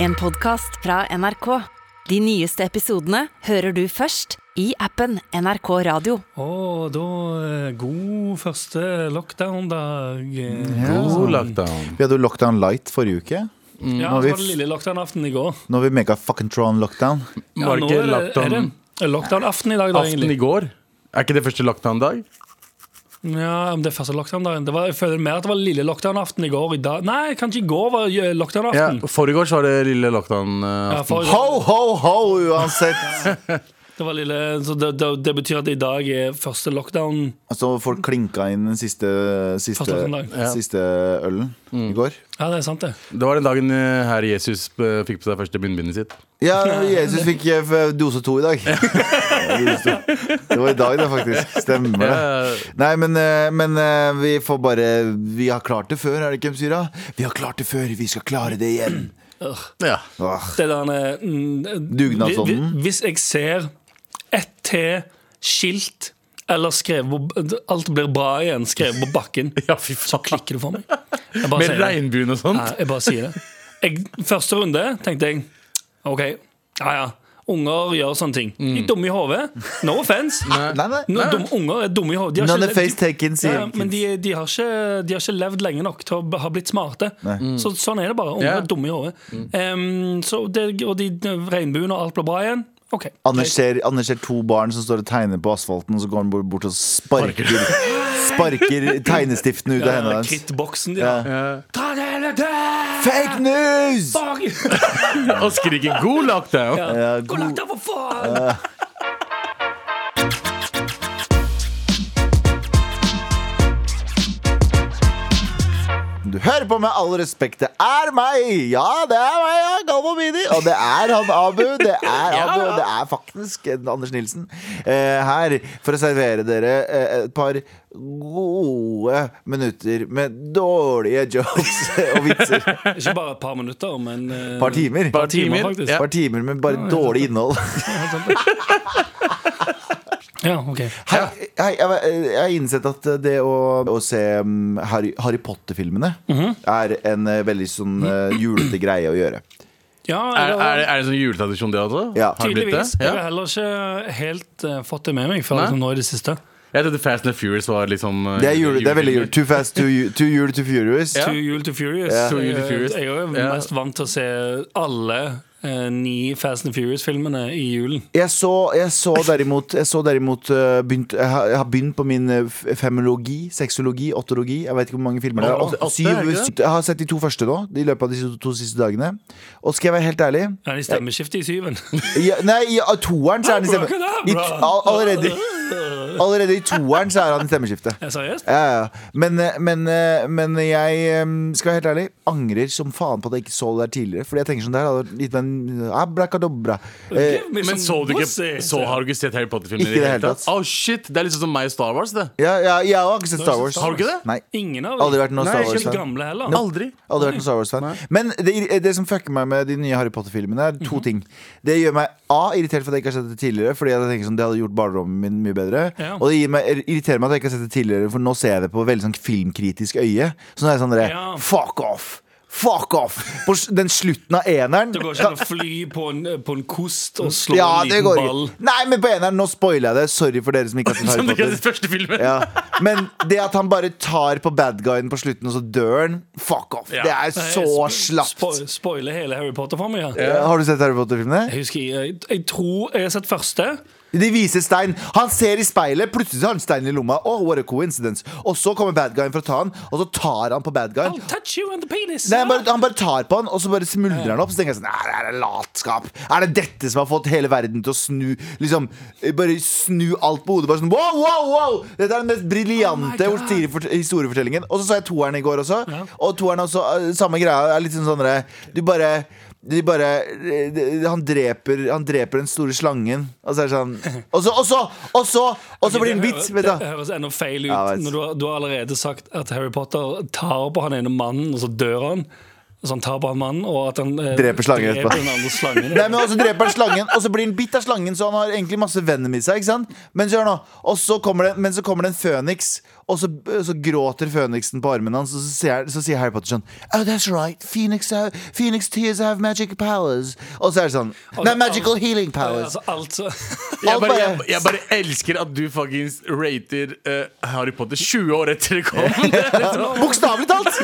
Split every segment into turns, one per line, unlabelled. En podcast fra NRK. De nyeste episodene hører du først i appen NRK Radio.
Og da eh, god første lockdown-dag. Eh,
God lockdown.
Vi hadde jo lockdown light forrige uke.
Mm,
Ja, så
Nå har vi-
var det lille lockdown-aften i går.
Nå har vi mega fucking tron lockdown.
Ja,
Var det
nå
ikke
er
lockdown
er det lockdown-aften i dag, da,
aften i
egentlig?
går? Er ikke det første lockdown-dag?
Ja, om det er første lockdown-dagen. Det var, jeg føler mer at det var lille lockdown-aften i går. I dag. Nei, kanskje i går var eh,
Ja,
lockdown-aften.
Foregårs var det lille lockdown. eh,
Ja,
aften.
forrige-
Ho, ho, ho, uansett!
det, var lille, så det, det, det betyr at i dag er første lockdown.
Altså, folk klinka inn den siste,
Første Mm.
siste,
lockdown-dag.
Ja.
siste ølen i går.
Ja, det er sant, det.
Det var den dagen eh, herr Jesus eh, fikk på seg første munnbindet sitt.
Ja, Jesus fikk eh, f- dose to i dag. Dose to. Det var i dag, det, faktisk. Stemmer det.
Ja.
Nei, men, eh, men eh, vi får bare Vi har klart det før, er det ikke de sier da? Vi har klart det før, vi skal klare det igjen.
Ja.
Åh.
det der eh, mm,
Dugnadsånden.
hvi- hvi- Hvis jeg ser ett til skilt eller skrevet på Alt blir bra igjen, skrevet på bakken,
ja, fy
så
faen.
klikker det for meg. Jeg bare
Med
sier det.
regnbuen og sånt.
Nei, jeg bare sier det. Jeg, første runde tenkte jeg OK, ja ja. Unger gjør sånne ting. De er dumme i hodet. No offence.
Nei, nei.
No, dum, unger er dumme i hodet. De har ikke
None
levd-
of face taken,
ja,
sier
ja, men de, de, har ikke, de har ikke levd lenge nok til å b- ha blitt smarte. Så, sånn er det bare. Unger
Mm. Ja. Mm.
er dumme i hodet. Em, så det- og de, regnbuen og alt blir bra igjen. OK.
Anders ser, Anders ser to barn som står og tegner på asfalten, og så går han bort- bort og sparker Sparker tegnestiftene ut av hendene hans.
Krittboksen de
Ja.
har. Ta det hele der!
Fake news!
Fuck!
Og skriker 'god lockdown'!
Ja,
Gå langt
god,
da, for faen!
du hører på med all respekt. Det er meg! Ja, det er meg, ja, Galvo Bini. Og det er han Abu. Det er Abu, og det er faktisk en Anders Nilsen eh, her for å servere dere eh, et par gode minutter med dårlige jokes og vitser.
Ikke bare et par minutter, men eh,
Par timer.
par timer,
timer,
faktisk.
ja.
Ja,
Par timer med bare dårlig innhold.
ok
Hei, hei, jeg, jeg har innsett at det å, å se mm, Harry, Harry Potter-filmene er en eh, veldig sånn eh, julete greie å gjøre.
ja,
Er,
jeg har-
er, det- er det sånn juletradisjon, det også?
Ja.
Har det blitt det?
Tydeligvis. Jeg har
Ja.
heller ikke helt eh, fått det med meg før
Nei.
liksom, nå i det siste.
Jeg trodde Fast and the Furious var liksom eh,
Det er, jule, det er veldig jul.
julefilmer.
Too fast, too, ju- too jul, too furious.
Ja.
Too Jul to Furious.
Too Jul to
Eh,
Furious.
Jeg er jo
Ja.
mest vant til å se alle eh, ni Fast and Furious-filmene i julen.
Jeg, så, jeg så derimot, jeg, så derimot eh, begynt, jeg, har, jeg har begynt på min eh, f- femologi, sexologi, otologi. Jeg vet ikke hvor mange filmer det er.
Åh,
Åtte-
åtte,
syv-
er det ikke det?
syv- jeg har sett de to første nå, i løpet av de to, to siste dagene. Og skal jeg være helt ærlig
Ja, de stemmeskifter i syven.
ja, Nei, i ah, toeren så er han i stemme... I, t- all- allerede, allerede i toeren så er han i stemmeskiftet.
Ja, Seriøst?
Ja, ja. Men, eh, men, eh, men jeg eh, skal være helt ærlig angrer som faen på at jeg ikke så det der tidligere. Fordi jeg tenker sånn det her hadde gitt meg en abrakadabra. Eh,
Liksom
Men så du ikke Så har du ikke sett Harry Potter-filmer?
Ikke i det hele tatt.
Oh shit, Det er liksom som meg og Star Wars, det.
ja, ja, jeg har ikke sett Star Wars.
Har du ikke det?
Nei.
Ingen av
Aldri vært noen Star
Nei, Ikke
Wars-fan.
de gamle heller.
Aldri.
Aldri vært noen Star Wars-fan. Men det, det som fucker meg med de nye Harry Potter-filmene, er to
Mhm.
ting. Det gjør meg A, irritert for at jeg ikke har sett det tidligere, fordi jeg tenker sånn, det hadde gjort barndommen min mye bedre.
Ja.
Og det gir meg, irriterer meg at jeg ikke har sett det tidligere, for nå ser jeg det på veldig sånn filmkritisk øye. Så nå er jeg sånn dere,
Ja.
fuck off! Fuck off! På s- den slutten av eneren
Det går ikke an å fly på en, på en kost og slå
Ja,
en
det
liten
går
ball.
ikke. Nei, men på eneren, nå spoiler jeg det. Sorry for dere som ikke har sett
Som du
Harry
ikke har sett
Potter.
første filmen.
Ja. Men det at han bare tar på bad guyen på slutten, og så dør han, fuck off. Det er
Nei,
så
spo-
slapt.
spo- Spoiler hele Harry Potter for meg. Ja.
Ja, Har du sett Harry Potter-filmene?
Jeg husker, jeg, jeg tror jeg har sett første.
De viser stein. Han ser i speilet, plutselig har han steinen i lomma. Oh, what a coincidence Og så kommer bad guyen for å ta han, og så tar han på bad guyen.
I'll touch you and the penis.
Nei, han, bare, han bare tar på han, og så bare smuldrer han opp. Så tenker jeg sånn, "Nei, det er det latskap Er det dette som har fått hele verden til å snu Liksom, eh, bare snu alt på hodet? Bare sånn, wow, wow, wow Dette er den mest briljante
Oh my God.
historiefort- historiefortellingen. Og så så jeg toeren i går også.
Ja.
Og toeren også, eh, samme greia. er litt sånn sånn derre, Du bare de bare eh, de- Han dreper Han dreper den store slangen. Og så er det sånn Og så, og så, og så, og så blir det en
høres-
bit. Vet
Det
du.
høres enda feil ut
Ja, vet.
når du har, du har allerede sagt at Harry Potter tar på han ene mannen, og så dør han. Så han tar brannmannen, og at han eh,
Dreper slangen etterpå.
dreper den andre slangen.
Nei, men også dreper han slangen, og så blir han bitt av slangen, så han har egentlig masse venom i seg. ikke sant? Men så, hør nå, og så kommer det, men så kommer det en føniks, og så, så gråter føniksen på armen hans, og så sier, så sier Harry Potter sånn Oh, that's right, Phoenix, have, Phoenix tears have magic powers. Og så er det sånn Nei, magical healing powers.
Altså, alt så
Jeg
Alt
bare,
bare-
jeg, jeg bare elsker at du fuckings rater eh, Harry Potter 20 år etter det kom. Det er liksom-
Bokstavelig talt!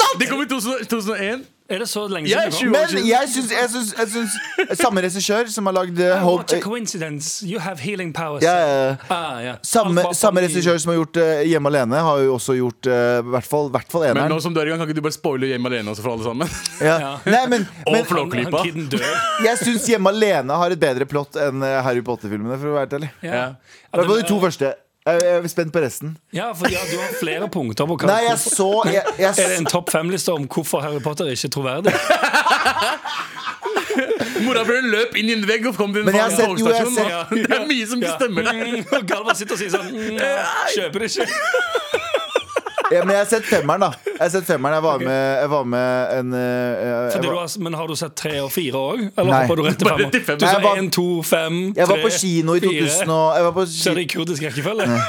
Det
talt!
kom i 2000 2001.
Er det så lenge
Jeg
siden
er
det
tjue
kom?
Men jeg syns, jeg syns, jeg syns Samme regissør som har lagd eh, Hope
What a coincidence. You have healing powers.
Ja, ja, ja.
Ah, ja.
Samme,
Alt var
samme
familie.
regissør som har gjort eh, Hjemme alene, har jo også gjort eh, i hvert fall hvert fall
Men
eneren.
nå som du er i gang, kan ikke du bare spoile Hjemme alene også for alle sammen?
Ja. Nei, men, men
Og Flåklypa.
Han kidden dør.
jeg syns Hjemme alene har et bedre plott enn eh, Harry Potter-filmene, for å være helt ærlig. I
Ja.
hvert fall de to første. Jeg jeg er spent på resten.
Ja, for ja, du har flere punkter på hva
Nei, jeg så jeg, jeg,
Er det en topp fem-liste om hvorfor Harry Potter ikke er troverdig?
Morapuleren løp inn i en vegg og kom til en
Men jeg har
fucking
sett- jo, jeg
togstasjon.
har
Det er mye som ikke stemmer der.
Mm, og Galvan sitter og sier sånn mm, jeg Kjøper det ikke.
ja, men jeg har sett femmeren, da. Jeg har sett femmeren, jeg var med, jeg var med en eh, jeg,
Fordi du
var,
har, men har du sett tre og fire òg? Eller
Nei.
hopper du rett
Bare
til
til
fem?
fem.
Du
Nei, jeg
sa
var-
én, to, fem,
jeg var på kino i 2000 og jeg var på,
Så er
ki-
det i kurdisk rekkefølge?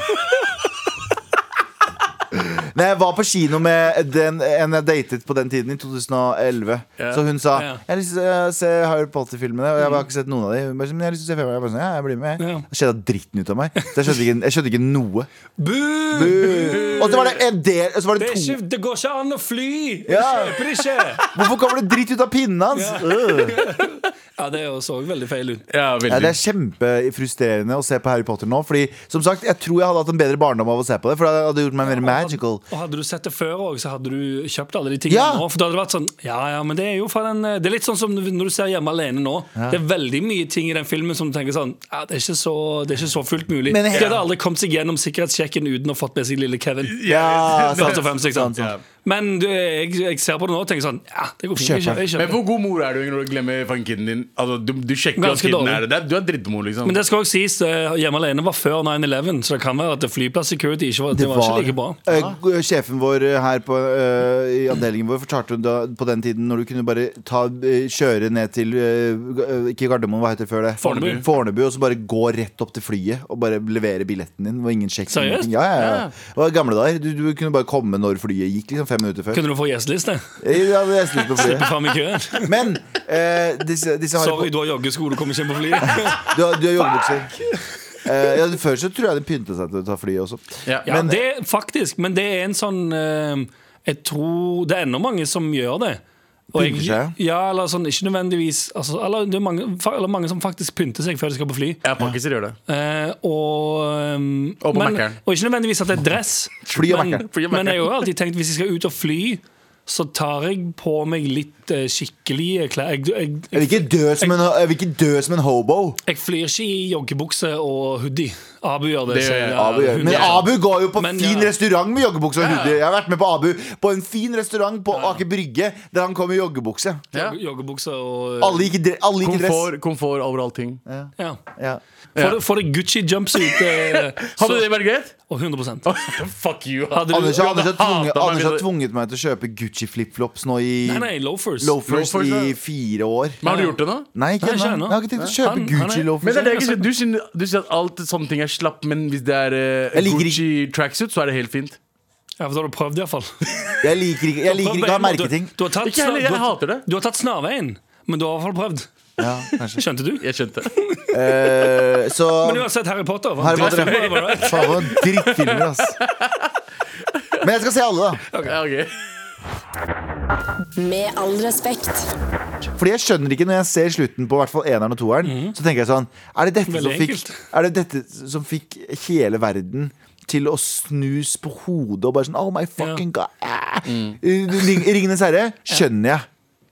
Nei, jeg var på kino med den, en jeg datet på den tiden, i 2011.
Ja.
Så hun sa
Ja.
Jeg har lyst til å se Harry Potter-filmene, og jeg har ikke sett noen av dem. Hun bare, Men jeg har lyst til å se femmeren. Jeg bare sånn, ja, jeg blir med.
Ja.
Det skjedde dritten ut av meg. Så jeg skjønte ikke, jeg skjønte ikke noe.
Bu!
Og så var det en del og så var
Det,
det
er
to.
ikke, det går ikke an å fly! Jeg
Ja.
kjøper det ikke!
Hvorfor kommer det dritt ut av pinnen hans? Øh.
Ja, det så veldig feil ut.
Ja,
Ja, det
veldig.
er kjempefrustrerende å se på Harry Potter nå. Fordi, som sagt, Jeg tror jeg hadde hatt en bedre barndom av å se på det. For det hadde gjort meg mer magical
Og hadde du sett det før òg, så hadde du kjøpt alle de tingene
Ja.
nå. For da hadde det vært sånn Ja, ja, men det er jo fra den eh, Det er litt sånn som når du ser Hjemme alene nå. Det er veldig mye ting i den filmen som du tenker sånn ja, det, er ikke så, det er ikke så fullt mulig.
Men jeg-
De hadde aldri kommet seg gjennom sikkerhetssjekken uten å fått med seg lille Kevin.
Ja, sant,
Altså, fem, seks, sant?
sant, sant.
Men du, jeg, jeg ser på det nå og tenker sånn Ja, det går fint. Jeg
Kjøper.
kjøper. Jeg
Men
kjøper.
hvor god mor er du når du glemmer fucking kiden din? Altså, du, du sjekker
Ganske
at kiden
dårlig.
er det der. Du er drittmor, liksom.
Men det skal også sies, eh, Hjemme alene var før 9-11, så det kan være at flyplass security ikke var, det var ikke like bra.
Eh, Sjefen vår her på, eh, i avdelingen vår fortalte hun da, på den tiden når du kunne bare ta, eh, kjøre ned til eh, Ikke Gardermoen, hva heter det før det?
Fornebu.
Fornebu, Og så bare gå rett opp til flyet og bare levere billetten din. Og ingen sjekk.
Seriøst?
ingenting. Ja, ja, ja. Det var gamle dager. Du, du kunne bare komme når flyet gikk, liksom fem minutter før. Eh,
Kunne du få gjesteliste?
Ja, det er snilt på flyet.
Fram i køen?
Men eh, disse, disse Harry
Sorry, du har joggesko, du kommer ikke inn på flyet.
Du har, du har joggebukser. Eh, ja, før så tror jeg de pynta seg til å ta flyet også.
Ja.
Ja,
Men-
det, faktisk, men det er en sånn eh, Jeg tror det er enda mange som gjør det. jeg,
Pynter seg,
ja, eller sånn, ikke nødvendigvis altså, eller, det er mange, fa- eller mange som faktisk pynter seg før de skal på fly.
Ja, pakkiser gjør det.
Eh, og, ehm,
Og på
men,
Mac-eren.
og ikke nødvendigvis at det er dress.
Fly og
men,
Mac-eren.
Fly og
men jeg har
Mac-eren.
jo alltid tenkt hvis jeg skal ut og fly, så tar jeg på meg litt eh, skikkelige klær. Jeg, jeg,
Jeg
jeg,
vil ikke dø som en, jeg vil ikke dø som en hobo.
jeg flyr ikke i joggebukse og hoodie. Abu gjør det.
Det gjør jeg.
ja,
Abu gjør.
hun
Men
gjør det.
Abu går jo på
Men,
fin
ja.
restaurant med joggebukse og hoodie. Jeg har vært med på Abu på en fin restaurant på Aker Brygge der han kom i joggebukse.
Ja.
Jogge- Joggebukse og
Alle gikk i dre- alle gikk i dress.
Komfort, komfort over allting.
ja.
Ja.
Får du- Får du Gucci jumpsuit eh, så-
Hadde det vært greit?
Og 100
Fuck you.
Hadde du-
Anders, har-
hadde hatet
Anders, har tvunget,
meg
Anders har
hvis du-
tvunget meg til å kjøpe Gucci flipflops nå i
Nei, nei, loafers.
loafers
Loafers,
i
ja.
fire år.
Men har du gjort det nå?
Nei, ikke
Nei, ikke
ennå.
ennå.
Jeg har ikke tenkt å
Han-
kjøpe
han er-
Men
Gucci-loafers.
det er det jeg ikke sier. Du sier, du sier at alt sånne ting er slapp, men hvis det er eh,
Jeg liker
Gucci tracksuit, så er det helt fint.
Ja, for da har du prøvd, iallfall.
Jeg liker ikke, jeg liker ikke å ha merketing.
Du, du, har tatt
Ikke heller,
snar-
jeg
du, har-
hater det.
du har tatt snarveien, men du har iallfall prøvd.
Ja, kanskje.
Skjønte du?
Jeg skjønte.
Eh, så
Men uansett, Harry Potter. var
Harry
det-
Potter, ja.
det var det.
Faen, for noen drittfilmer, ass. Men jeg skal se alle, da.
Ja, ok.
Med all respekt.
Fordi jeg skjønner ikke når jeg ser slutten på hvertfall eneren og toeren. Så tenker jeg sånn Er det dette, som
Mhm. Veldig
fikk,
enkelt.
er det dette som fikk hele verden til å snus på hodet og bare sånn Oh my fucking god. Ah. Ring, Ringenes herre skjønner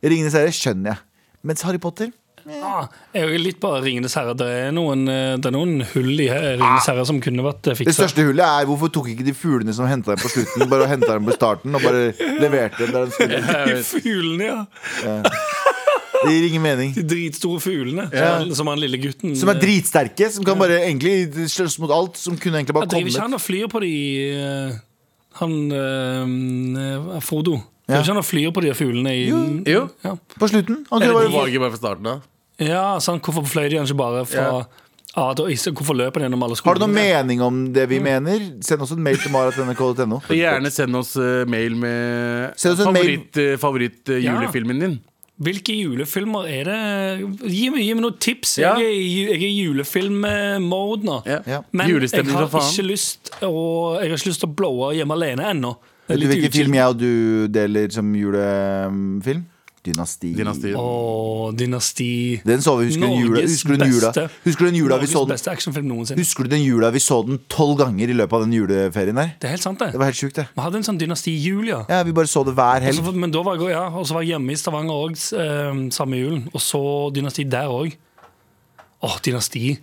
jeg. Ringenes herre skjønner jeg. Mens Harry Potter
Ah, jeg er jo litt bare Ringenes herre. Det er noen, eh, det er noen hull i eh, Ringenes herre som kunne vært eh,
Ah. det
fiksa.
største hullet er hvorfor tok ikke de fuglene som henta dem på slutten, bare henta dem på starten og bare leverte dem der de skulle?
De fuglene, ja.
Det gir ingen mening.
De dritstore fuglene
Ja.
som, han- som han lille gutten
Som er
eh,
dritsterke, som kan bare egentlig slåss mot alt. Som kunne egentlig bare
ja, Driver ikke
kommet.
han og flyr på de eh, Han eh, Frodo. Det er ikke han flyr på de fuglene i
Jo.
Ja.
På slutten. Han
Eller
kunne
de
bare
valget bare fra starten av.
ja, sant, hvorfor fløy de ikke bare fra
Ja.
A til Å? Hvorfor løper de gjennom alle
har du
skolene?
noen mening om det vi
Mm.
mener? Send oss en mail til marat.nrk.no.
Så gjerne send oss eh, mail med
Send oss en mail.
favoritt-julefilmen favoritt, eh,
Ja.
julefilmen din.
Hvilke julefilmer er det Gi meg, gi meg noen tips.
Ja.
Jeg er i ju- jeg er i julefilm-mode nå.
Ja.
Ja.
Men jeg
Julestemning
har,
som faen.
ikke lyst å, jeg har ikke lyst til å blowe hjemme alene ennå. Det er
Vet du
litt
hvilken
uchill.
film jeg og du deler som julefilm? Dynasti.
Dynastiet.
Åh, Dynasti.
Den så vi. Husker du den jula,
Norges
husker du den jula,
beste-
husker du den jula vi
Norges
så den?
beste actionfilm noensinne.
Husker du den jula vi så den tolv ganger i løpet av den juleferien der?
Det er helt sant, det.
Det var helt sjukt, det.
Vi hadde en sånn Dynasti jul, ja.
Ja, Vi bare så det hver helg.
Så, men da var jeg, ja, og så var jeg hjemme i Stavanger òg samme julen, og så Dynasti der òg. Åh, Dynasti.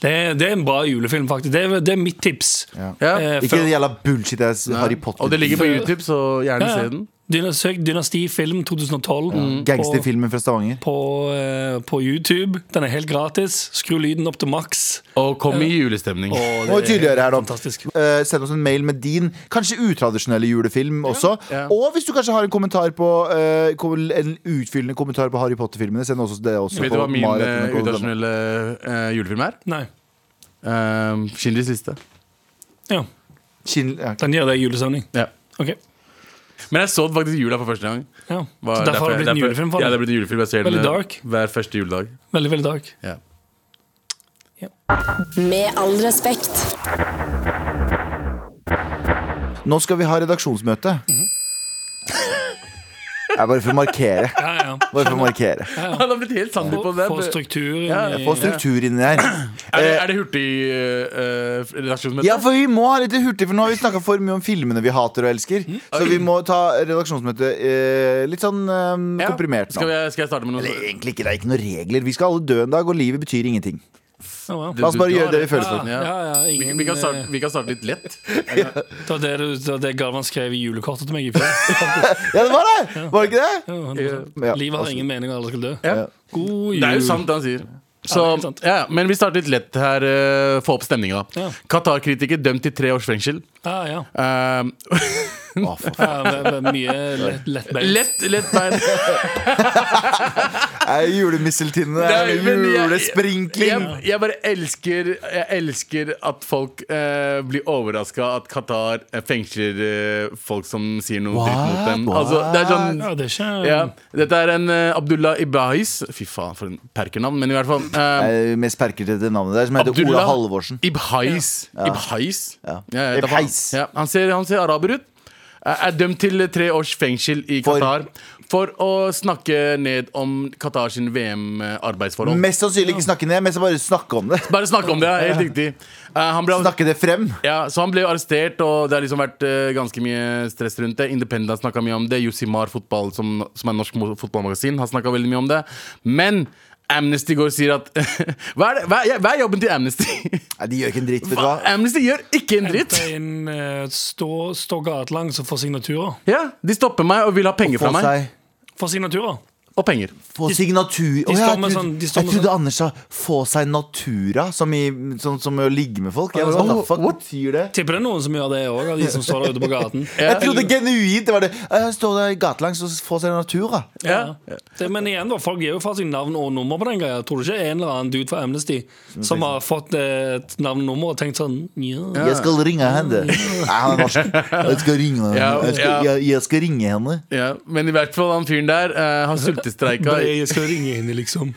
Det, er- det er en bra julefilm, faktisk. Det er, det er mitt tips.
Ja.
Ja.
Eh,
Ikke
før-
den jævla bullshit jeg s- Harry Potter.
Og det ligger på YouTube, så gjerne
Ja, ja.
se den.
Dyna- Søk Dynasti film 2012 på-
Gangsterfilmen fra Stavanger.
på, eh, på YouTube. Den er helt gratis. Skru lyden opp til maks.
Og kom i julestemning.
Og
Må tydeligere her nå.
fantastisk.
Eh, send oss en mail med din kanskje utradisjonelle julefilm også.
Ja.
Og hvis du kanskje har en kommentar på eh, kom- en utfyllende kommentar på Harry Potter-filmene, send oss det også.
Vet du
på
hva min eh,
maratnrk.no.
utradisjonelle eh, julefilm er?
Nei.
Uh, Shindis liste.
Ja.
Kin- ja,
Den gir deg julestemning.
Ja.
Ok.
Men jeg så den faktisk i jula for første gang.
Ja.
Var-
Så derfor har det blitt en
derfor-
julefilm for
Ja,
deg.
det har blitt en julefilm. Jeg ser
Veldig
den eh,
dark.
hver første juledag.
Veldig, veldig dark.
Ja.
Med all respekt.
Nå skal vi ha redaksjonsmøte.
Mhm.
Jeg bare for å markere.
Ja, ja.
Bare for å markere.
Han har blitt helt sandy på det.
Få struktur inn
Ja,
i
Få struktur inni her.
Er det, er det hurtig eh, eh, redaksjonsmøte?
Ja, for vi må ha litt hurtig, for nå har vi snakka for mye om filmene vi hater og elsker.
Mhm.
Så vi må ta redaksjonsmøte eh, litt sånn eh,
Ja.
komprimert
Skal
nå.
jeg, skal jeg starte med noe?
Eller egentlig ikke, det er ikke noen regler. Vi skal alle dø en dag, og livet betyr ingenting.
Ja, ja.
La oss bare gjøre det vi føler
Ja,
for.
ja, ja,
Vi,
ingen,
vi, kan starte,
eh,
vi kan starte litt lett.
Det var det, du- det, var det Galvan skrev i julekortet til meg i fjor.
Ja, det var det! Var det ikke det?
Ja, han-
Ja,
Livet har
altså.
ingen mening, og alle skal dø.
Ja.
God jul.
Det er jo sant, det han sier. Så,
Ja, det er sant.
ja, men vi starter litt lett her. eh, få opp stemninga.
Ja.
Qatar-kritiker dømt til tre års fengsel.
Ja, ja.
Eh,
Å, for faen.
Ja, det- det er mye lett, lett bein.
lett, lett bein.
Er det julemisseltinne? Er det
men jeg-
julesprinkling?
Jeg, jeg bare elsker Jeg elsker at folk eh, blir overraska at Qatar eh, fengsler eh, folk som sier noe dritt mot dem.
What?
Altså, det er sånn
Ja, det er ikke
ja, Dette er en eh, Abdullah Ibahis. Fy faen, for en perkernavn, men i hvert fall. eh,
Det er det mest perkete navnet der, som heter Ola Halvorsen.
Ibhais. Ibhais.
Ja.
jeg vet da faen.
Ibhais.
Ja, han, ser, han ser araber ut. Eh, Er dømt til tre års fengsel i
For-
Qatar for å snakke ned om Qatar sin VM-arbeidsforhold.
Mest sannsynlig ikke snakke ned, mest bare snakke om det.
Bare snakke om det, ja, helt riktig. Eh, han ble,
Snakke det frem.
ja, så han ble arrestert, og det har liksom vært eh, ganske mye stress rundt det. Independent har snakka mye om det. Josimar Fotball, som, som er norsk mo- fotballmagasin, har snakka veldig mye om det. Men Amnesty går og sier at hva, er det, hva, er, hva er jobben til Amnesty?
Nei, de gjør ikke en dritt, vet du
Hva?
hva.
Amnesty gjør ikke en dritt.
Hente inn, eh, stå, stå gatelangs og få signaturer.
Ja, De stopper meg og vil ha penger
Få
fra meg.
seg
Få signaturer.
Og penger.
Få signatur Å,
står
jeg,
med
trodde-
sånn- de står
jeg
med
trodde
sånn-
Anders sa 'få seg natura', som, i, som, som å ligge med folk. Jeg, bare, what the fuck betyr det?
Tipper det er noen som gjør det òg, av de som står der ute på gaten.
Jeg trodde genuint det var det. Jeg står der gatelangs og få seg natura.
Ja. Det, men igjen, da, folk gir jo fra seg navn og nummer på den greia. Tror du ikke en eller annen dude fra Amnesty som har fått eh, et navn og nummer og tenkt sånn ja. Mm.
Jeg skal ringe henne. Nei, han er norsk. Jeg skal ringe henne.
Ja,
Jeg skal,
ja.
jeg, jeg skal ringe henne.
Ja, Men i hvert fall han fyren der eh, har sultestreika.
Bare, Jeg skal ringe henne, liksom.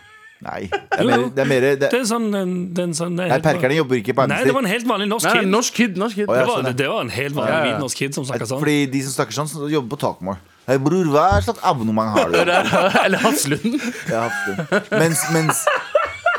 Nei, det er mer, det er mer det,
Det er sånn, en- det er en sånn det er
Nei,
helt-
perkerne jobber ikke på
Nei, det var
Amnesty.
en helt vanlig norsk
Nei,
kid.
norsk kid. norsk kid
Å, ja.
Det, var,
sånn,
det, det var en helt vanlig
Ja, ja.
hvit norsk kid som snakka sånn.
Fordi de som snakker sånn, så jobber på takmål. Hei, bror, hva slags abonnement har du?
Eller Haslund.
Jeg har hatt det. Mens, mens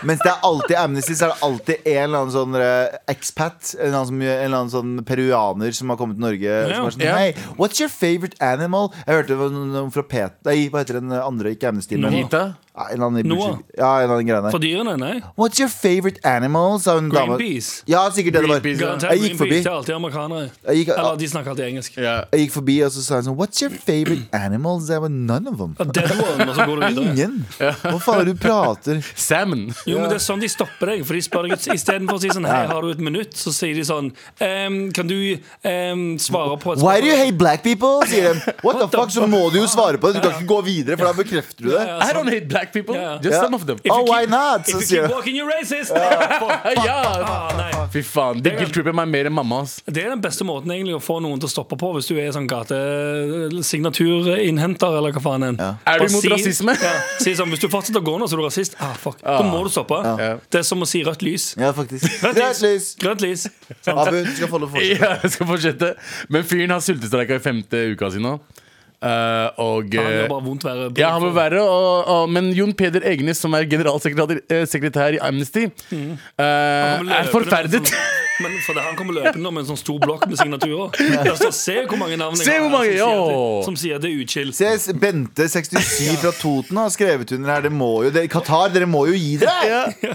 mens det er alltid Amnesty, så er det alltid en eller annen sånn eh, expat, en eller annen, som, en eller annen sånn peruaner som har kommet til Norge. Som er sånn,
ja.
Hei, what's your favorite animal? Jeg hørte det var noen noen fra Pet... Nei, hva heter den andre? Ikke Amnesty, men
Noah.
Anita.
Ja, en eller annen
Noah.
bullshit. Ja, en eller annen greie
sånn. For
der.
dyrene, nei.
What's your favorite animal? sa hun dame.
Greenpeace.
Ja, sikkert det det var.
Greenpeace, ja.
Garantert
Jeg gikk forbi.
Greenpeace. Det er alltid amerikanere.
Jeg gikk,
Eller de snakker alltid engelsk.
Ja.
jeg gikk forbi, og så sa hun sånn What's your favorite animal? Så jeg var none of them.
Ja, Dead one, og så går du videre.
Ingen! Hva faen er det du prater?
Salmon.
Jo, men det er sånn de stopper deg. For de spør deg Istedenfor å si sånn Hei, har du et minutt? Så sier de sånn ehm, Kan du ehm, svare på et
Why do you hate black people? sier de. What the fuck? Så må du jo svare på det. Du kan ikke gå videre, for da bekrefter du det.
Ja,
I
sånn.
don't hate black people.
Ja.
Just
Ja.
some of them.
If you
Oh,
keep-
why not? Så
If you
sier
keep
jeg.
walking, you're racist!
ja.
Ah, nei.
Fy faen. Det guilt-tripper meg mer enn mamma. ass.
Det er den beste måten egentlig å få noen til å stoppe på, hvis du er sånn gatesignaturinnhenter eller hva faen enn.
Er du
Bare
imot rasisme?
Ja, si sånn, Hvis du fortsetter å gå nå, så er du rasist. Ah, fuck. Da må du stoppe.
Ja.
Det er som å si rødt lys.
Ja, faktisk.
Rødt lys.
Rødt lys!
Grønt lys. Sant?
Abu, du skal få lov å fortsette.
Ja, jeg skal fortsette. Men fyren har sultestreika i femte uka si nå. Eh, og
Han
eh,
gjør bare vondt verre.
Ja, han må være og, og, Men Jon Peder Egnes, som er generalsekretær eh, sekretær i Amnesty, eh,
Mm. Han kommer løpende
er
med
forferdet.
sånn- Men for det, Han kommer løpende med en sånn stor blokk med signaturer. Der står, Se hvor mange navn jeg
Se hvor
har
mange,
her som, sier
ja.
at, som sier at det er uchill.
Ses, Bente67 fra Toten har skrevet under her. Det må jo, dere, Qatar, dere må jo gi dere!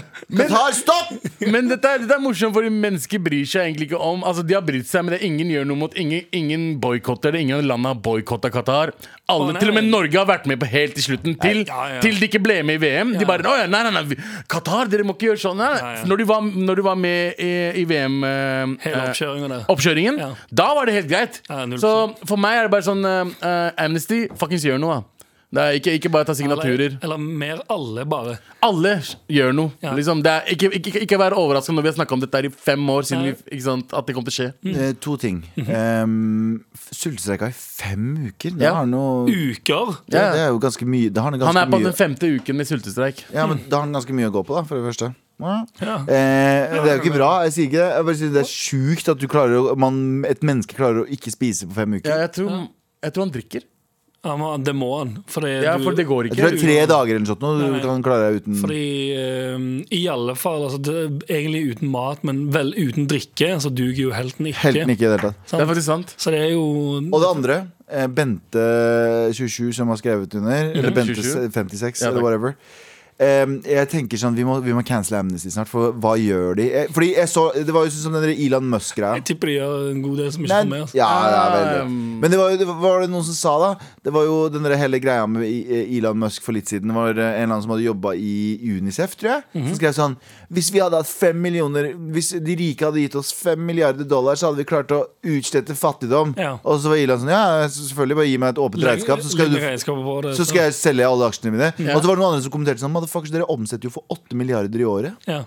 Ja.
Qatar, stopp!
Men dette er, dette er morsomt, for mennesker bryr seg egentlig ikke om Altså, De har brydd seg, men det er ingen gjør noe mot Ingen, ingen boikotter det. Ingen land har boikotta Qatar. Alle,
Å, nei.
til og med Norge har vært med på helt til slutten, til,
ja, ja.
til de ikke ble med i VM. De bare Å ja, nei, nei, nei. vi- Qatar, dere må ikke gjøre sånn. Nei.
Nei, ja.
Når, de var, når de var med i, i VM eh,
Hele
eh,
oppkjøringen der.
oppkjøringen,
Ja.
da var det helt greit.
Ja, null
Så for meg er det bare sånn eh, eh, Amnesty, fuckings gjør noe, da. Det er ikke, ikke bare ta signaturer.
Eller, eller mer alle, bare.
Alle gjør noe.
Ja.
Liksom, det er, ikke, ikke, ikke vær overraska når vi har snakka om dette her i fem år siden
Nei.
vi, ikke sant, at det kommer til å skje.
Eh, to ting. Um, Sultestreika i fem uker? Det,
Mhm. Ja.
har noe, det,
Uker.
Ja.
det er jo ganske mye. Det har noe
Han
ganske
er på
mye.
den femte uken med sultestreik.
Ja, men da har han ganske mye å gå på, da, for det første. Ja.
Ja.
Eh, det er jo ikke bra. Jeg sier ikke det. Jeg bare sier det er sjukt at du klarer å, man, et menneske klarer å ikke spise på fem
Ja,
uker.
jeg, tror, jeg tror han drikker.
Ja, men det må han. Fordi,
Ja,
du-
For det går
Jeg
ikke.
tror det er tre dager eller noe sånt nå du
Nei.
kan klare deg uten
fordi eh, i alle fall altså, det, er Egentlig uten mat, men vel uten drikke, så duger jo helten ikke.
Helten ikke i det hele tatt.
Det er faktisk sant.
Så det er jo
Og det andre, eh, Bente27 som har skrevet under, eller Bente
27.
56
Mhm. Ja,
eller
takk.
whatever. Em, jeg tenker sånn, vi må, vi må cancele Amnesty snart, for hva gjør de? Eh, Fordi jeg så, Det var jo sånn som den der Elon Musk-greia.
Jeg tipper de gjør en god del som ikke
Nei,
får med altså. oss.
ja, ja, veldig.
Um,
Men det var, jo, det var- var det noen som sa da Det var jo den der hele greia med I- eh, Elon Musk for litt siden Det var eh, en eller annen som hadde jobbet i Unicef, tror jeg
Mhm.
Som skrev sånn Hvis vi hadde hatt fem millioner Hvis de rike hadde gitt oss fem milliarder dollar Så hadde vi klart å utslette fattigdom
Ja.
Og så var Elon sånn Ja, selvfølgelig, bare gi meg et åpent regnskap Så skal,
Legg- legg
du,
regnskapet på det,
så skal jeg selge alle aksjene mine
Ja.
Og så var det noen andre som kommenterte sånn Motherfuckers, dere omsetter jo for åtte milliarder i året
ja.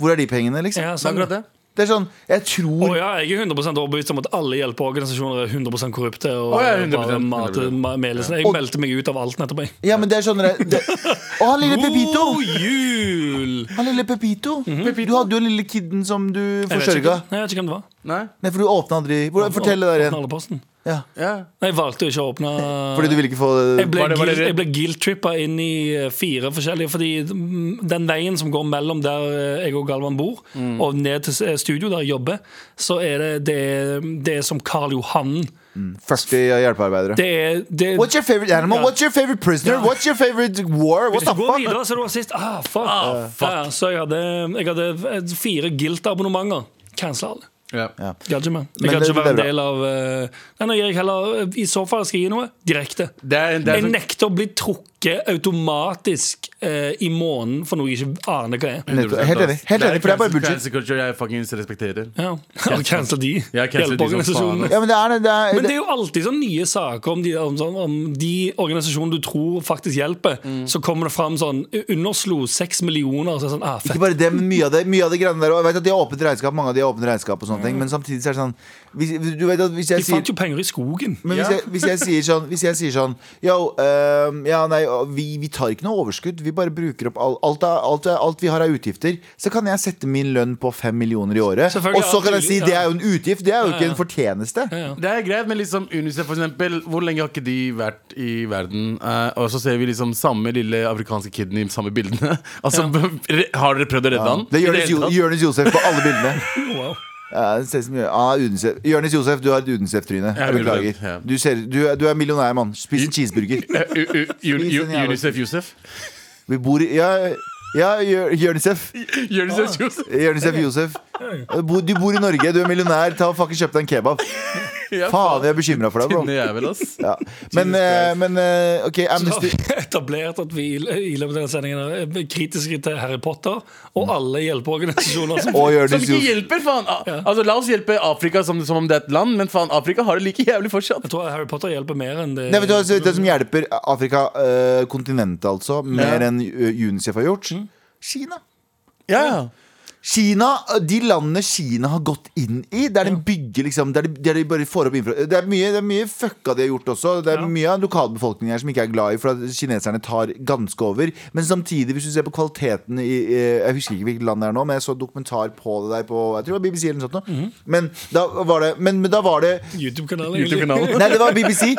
Hvor er de pengene, liksom?
Ja,
Det er
sånn.
akkurat det.
Det er sånn, jeg tror
Å ja, jeg er 100 overbevist om at alle hjelpeorganisasjoner er 100 korrupte. Og
Å ja,
bare
100%.
mater ma- melelsen. Jeg
Og-
meldte meg ut av alt nettopp. jeg.
Ja, men det er sånn det, det, Å, han lille Pepito
God jul!
Han lille Pepito. Du hadde jo den lille kiden som du
Mhm. Jeg vet,
forsørga.
ikke, jeg vet ikke hvem det var.
Nei?
Nei, for du åpna aldri Hvordan- Fortell det der
Åpna
igjen.
alle posten.
Ja.
Ja.
Nei, Jeg valgte jo ikke å åpne
Fordi du ville ikke få eh,
Jeg ble,
Var det- var det-
guilt- jeg ble guilt-trippa inn i eh, fire forskjellige Fordi mm, den veien som går mellom der eh, jeg og Galvan bor,
Mm.
og ned til s- eh, studio der jeg jobber, så er det det, det er som Karl Johan.
40 eh, hjelpearbeidere.
Det er det,
What's your favorite animal? What's your favorite prisoner?
Ja.
What's your favorite war? What
Hvis
the
du går
fuck?
videre, så er du rasist. Ah, fuck.
Ah, fuck.
Ja, så jeg hadde, jeg hadde eh, fire guilt-abonnementer. Cancela alle.
Ja.
Gadd ikke mer.
Men
Jeg kan
det-
ikke være en
det er
del av eh, Nei, nå gir jeg heller eh, I så fall skal jeg gi noe direkte.
Det er, det er
Jeg
sånn,
nekter å bli trukket automatisk eh, i månen for noe jeg ikke aner hva er.
Nettopp. Helt enig. Helt
Det er
enig, for det er bare
cancel-
bullshit.
cancel culture jeg fuckings respekterer.
Ja, og cancel de.
Ja, cancel de som
Hjelpeorganisasjonene.
faen, altså.
Ja, men det er det. er,
Men det er jo alltid sånn nye saker om de, om, sånn, om de organisasjonene du tror faktisk hjelper.
Mm.
Så kommer det fram sånn Underslo seks millioner. Og så er det sånn, ah,
ikke
fett.
bare det, men mye av det, mye av det greiene der. Og jeg vet at de har åpent regnskap, mange av de har åpent regnskap og sånne ting, men samtidig så er det sånn hvis, Du vet at hvis jeg
De
sier
fant jo penger i skogen.
Men hvis,
Ja.
jeg, hvis, jeg sier sånn, hvis jeg sier sånn Yo, ehm, ja, nei, vi, vi tar ikke noe overskudd Vi bare bruker opp all, alt, er- alt, er- alt vi har av utgifter Så kan jeg sette min lønn på 5 millioner i året
Selvfølgelig,
Og så kan
ja,
jeg si
ja.
det er jo en utgift Det er jo
Ja,
ikke
ja.
en fortjeneste
Det er greit, men liksom UNICEF for eksempel Hvor lenge har ikke de vært i verden? Eh, og så ser vi liksom samme lille afrikanske kiden i samme bildene. altså, Har dere prøvd å redde han?
Det
I
er Jørnes,
hele
Jo-
tatt?
Jørnes Josef på alle bildene
Wow.
Ja, det ser ut som- ah, UNICEF. Jørnes Josef, du har et UNICEF-tryne
Ja,
Jeg beklager
ja.
du, ser, du, er- du er millionær mann, spis en cheeseburger
Eh, U- U- Un-
Spis en
U-
jævla-
Unicef Josef.
Vi bor i Ja, ja Jør- Jørnisef.
Jonis S. Josef.
Jørnisef Josef. Bo- Du bor i Norge, du er millionær. Ta og fucking Kjøp deg en kebab.
Ja,
Faen, jeg er bekymra for deg,
Tynne
bro.
jævel, ass.
Ja. Men, eh, men eh, OK,
Så har
Amnesty
vi etablert at vi i i løpet av denne sendingen er kritiske til Harry Potter
Mm.
og alle hjelpeorganisasjoner. som
og
Som
Jørnis
ikke
Josef.
hjelper, faen! Al- Altså, La oss hjelpe Afrika som, som om det er et land, men faen, Afrika har det like jævlig fortsatt.
Jeg tror Harry Potter hjelper mer enn det.
Nei, vet du, hva, altså, det som hjelper Afrika, eh, kontinentet altså, mer enn eh, UNICEF har gjort,
Mm.
Kina.
Ja, ja
Kina, eh, De landene Kina har gått inn i, der de bygger liksom der de, der de bare får opp infra det er, mye, det er mye fucka de har gjort også. Det er
Ja.
mye av lokalbefolkningen her som ikke er glad i, for at kineserne tar ganske over. Men samtidig, hvis du ser på kvaliteten i eh, Jeg husker ikke hvilket land det er nå, men jeg så dokumentar på det der på jeg tror det var BBC eller noe sånt. nå. Men da var det, men, men da var det
YouTube-kanalen.
YouTube-kanalen.
Nei, det var BBC.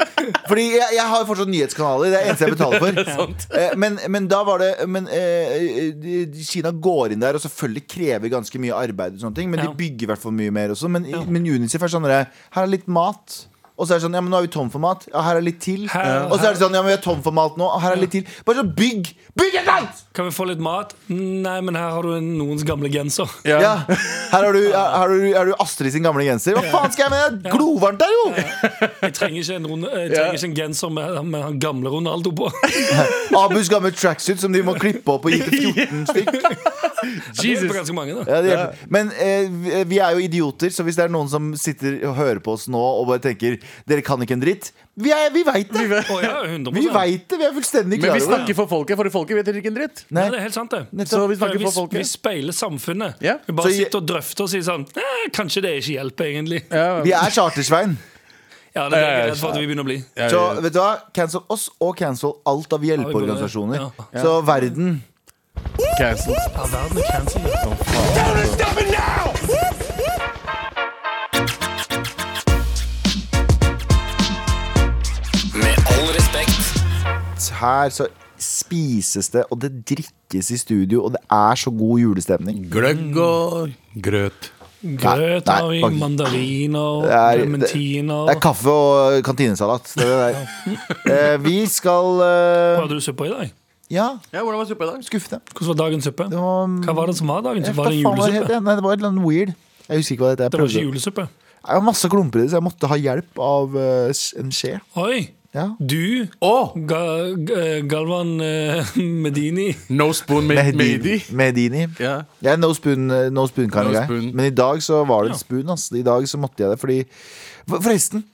Fordi jeg, jeg har fortsatt nyhetskanaler. Det er det eneste jeg betaler for. Eh, Men, men da var det Men eh, de- de- Kina går inn der og selvfølgelig krever ganske mye arbeid, og sånne ting men de
Ja.
bygger i hvert fall mye mer også. Men, men UNICEF er sånn der, Her er litt mat. Og så er det sånn, ja, men nå er vi tom for mat. Ja, her er litt til.
Her-
og så er det sånn, ja, men vi er tom for mat nå. Og her er litt til. Bare sånn, bygg! Bygg et land!
Kan vi få litt mat? Nei, men her har du noens gamle genser.
Ja.
Ja. Her har du, her har du, her har du Astrid sin gamle genser. Hva faen skal jeg med det? er Glovarmt der, jo!
Jeg trenger ikke en, rund- jeg
Ja.
trenger ikke en genser med, med han gamle Ronaldo på.
Abus gamle tracksuit som de må klippe opp og gi til 14 stykk.
Det er på
Jesus.
ganske mange, da.
Ja, det hjelper. Men eh, vi- vi er jo idioter, så hvis det er noen som sitter og hører på oss nå og bare tenker Dere kan ikke en dritt. Vi, er- vi veit det!
Å ja, 100
Vi veit det! Vi er fullstendig
Men
klare
vi
over det.
snakker for folket, for folket vet ikke en dritt.
Nei,
Nei,
det er helt sant, det.
nettopp.
Så vi
For
snakker
Vi,
for
vi
folket.
speiler samfunnet.
Ja.
Vi bare
Så jeg-
sitter og drøfter og sier sånn "Eh, Kanskje det ikke hjelper, egentlig.
Ja,
Vi er Chartersvein.
Ja, det er det jeg
Ja, ja,
er redd for at vi begynner å bli.
ja,
Så
ja.
vet du hva? cancel oss og cancel alt av hjelpeorganisasjoner.
Ja.
Så verden
Cancelled.
Ja, verden er cancelled.
Med all respekt.
Her så spises det, og det drikkes i studio, og det er så god julestemning.
Gløgg og grøt.
Grøt
Nei,
har vi,
faktisk-
mandariner,
Det er, det,
clementiner
det er kaffe og kantinesalat. Det er det der. Eh, vi skal
Hva
eh,
hadde du suppe i dag?
Ja,
Ja, hvordan var suppa i dag?
skuffe dem.
Hvordan var dagens suppe?
Det var,
Hva var det som var dagens
Jeg
suppe? Var det en
vet da faen hva det
julesuppe?
het, ja. Nei, det var et eller annet weird. Jeg husker ikke hva det het. Jeg,
Det var ikke
prøvde.
julesuppe.
jeg har masse klumper i det, så jeg måtte ha hjelp av eh, en skje.
Oi!
Ja.
Du, Ga G- Galvan eh, Medini
No spoon made
Medini.
meidi.
Medini.
Ja.
Jeg er no spoon, eh, no spoon kind
No
of guy.
spoon.
Men i dag så var det en spoon. ass. I dag så måtte jeg det fordi For- Forresten,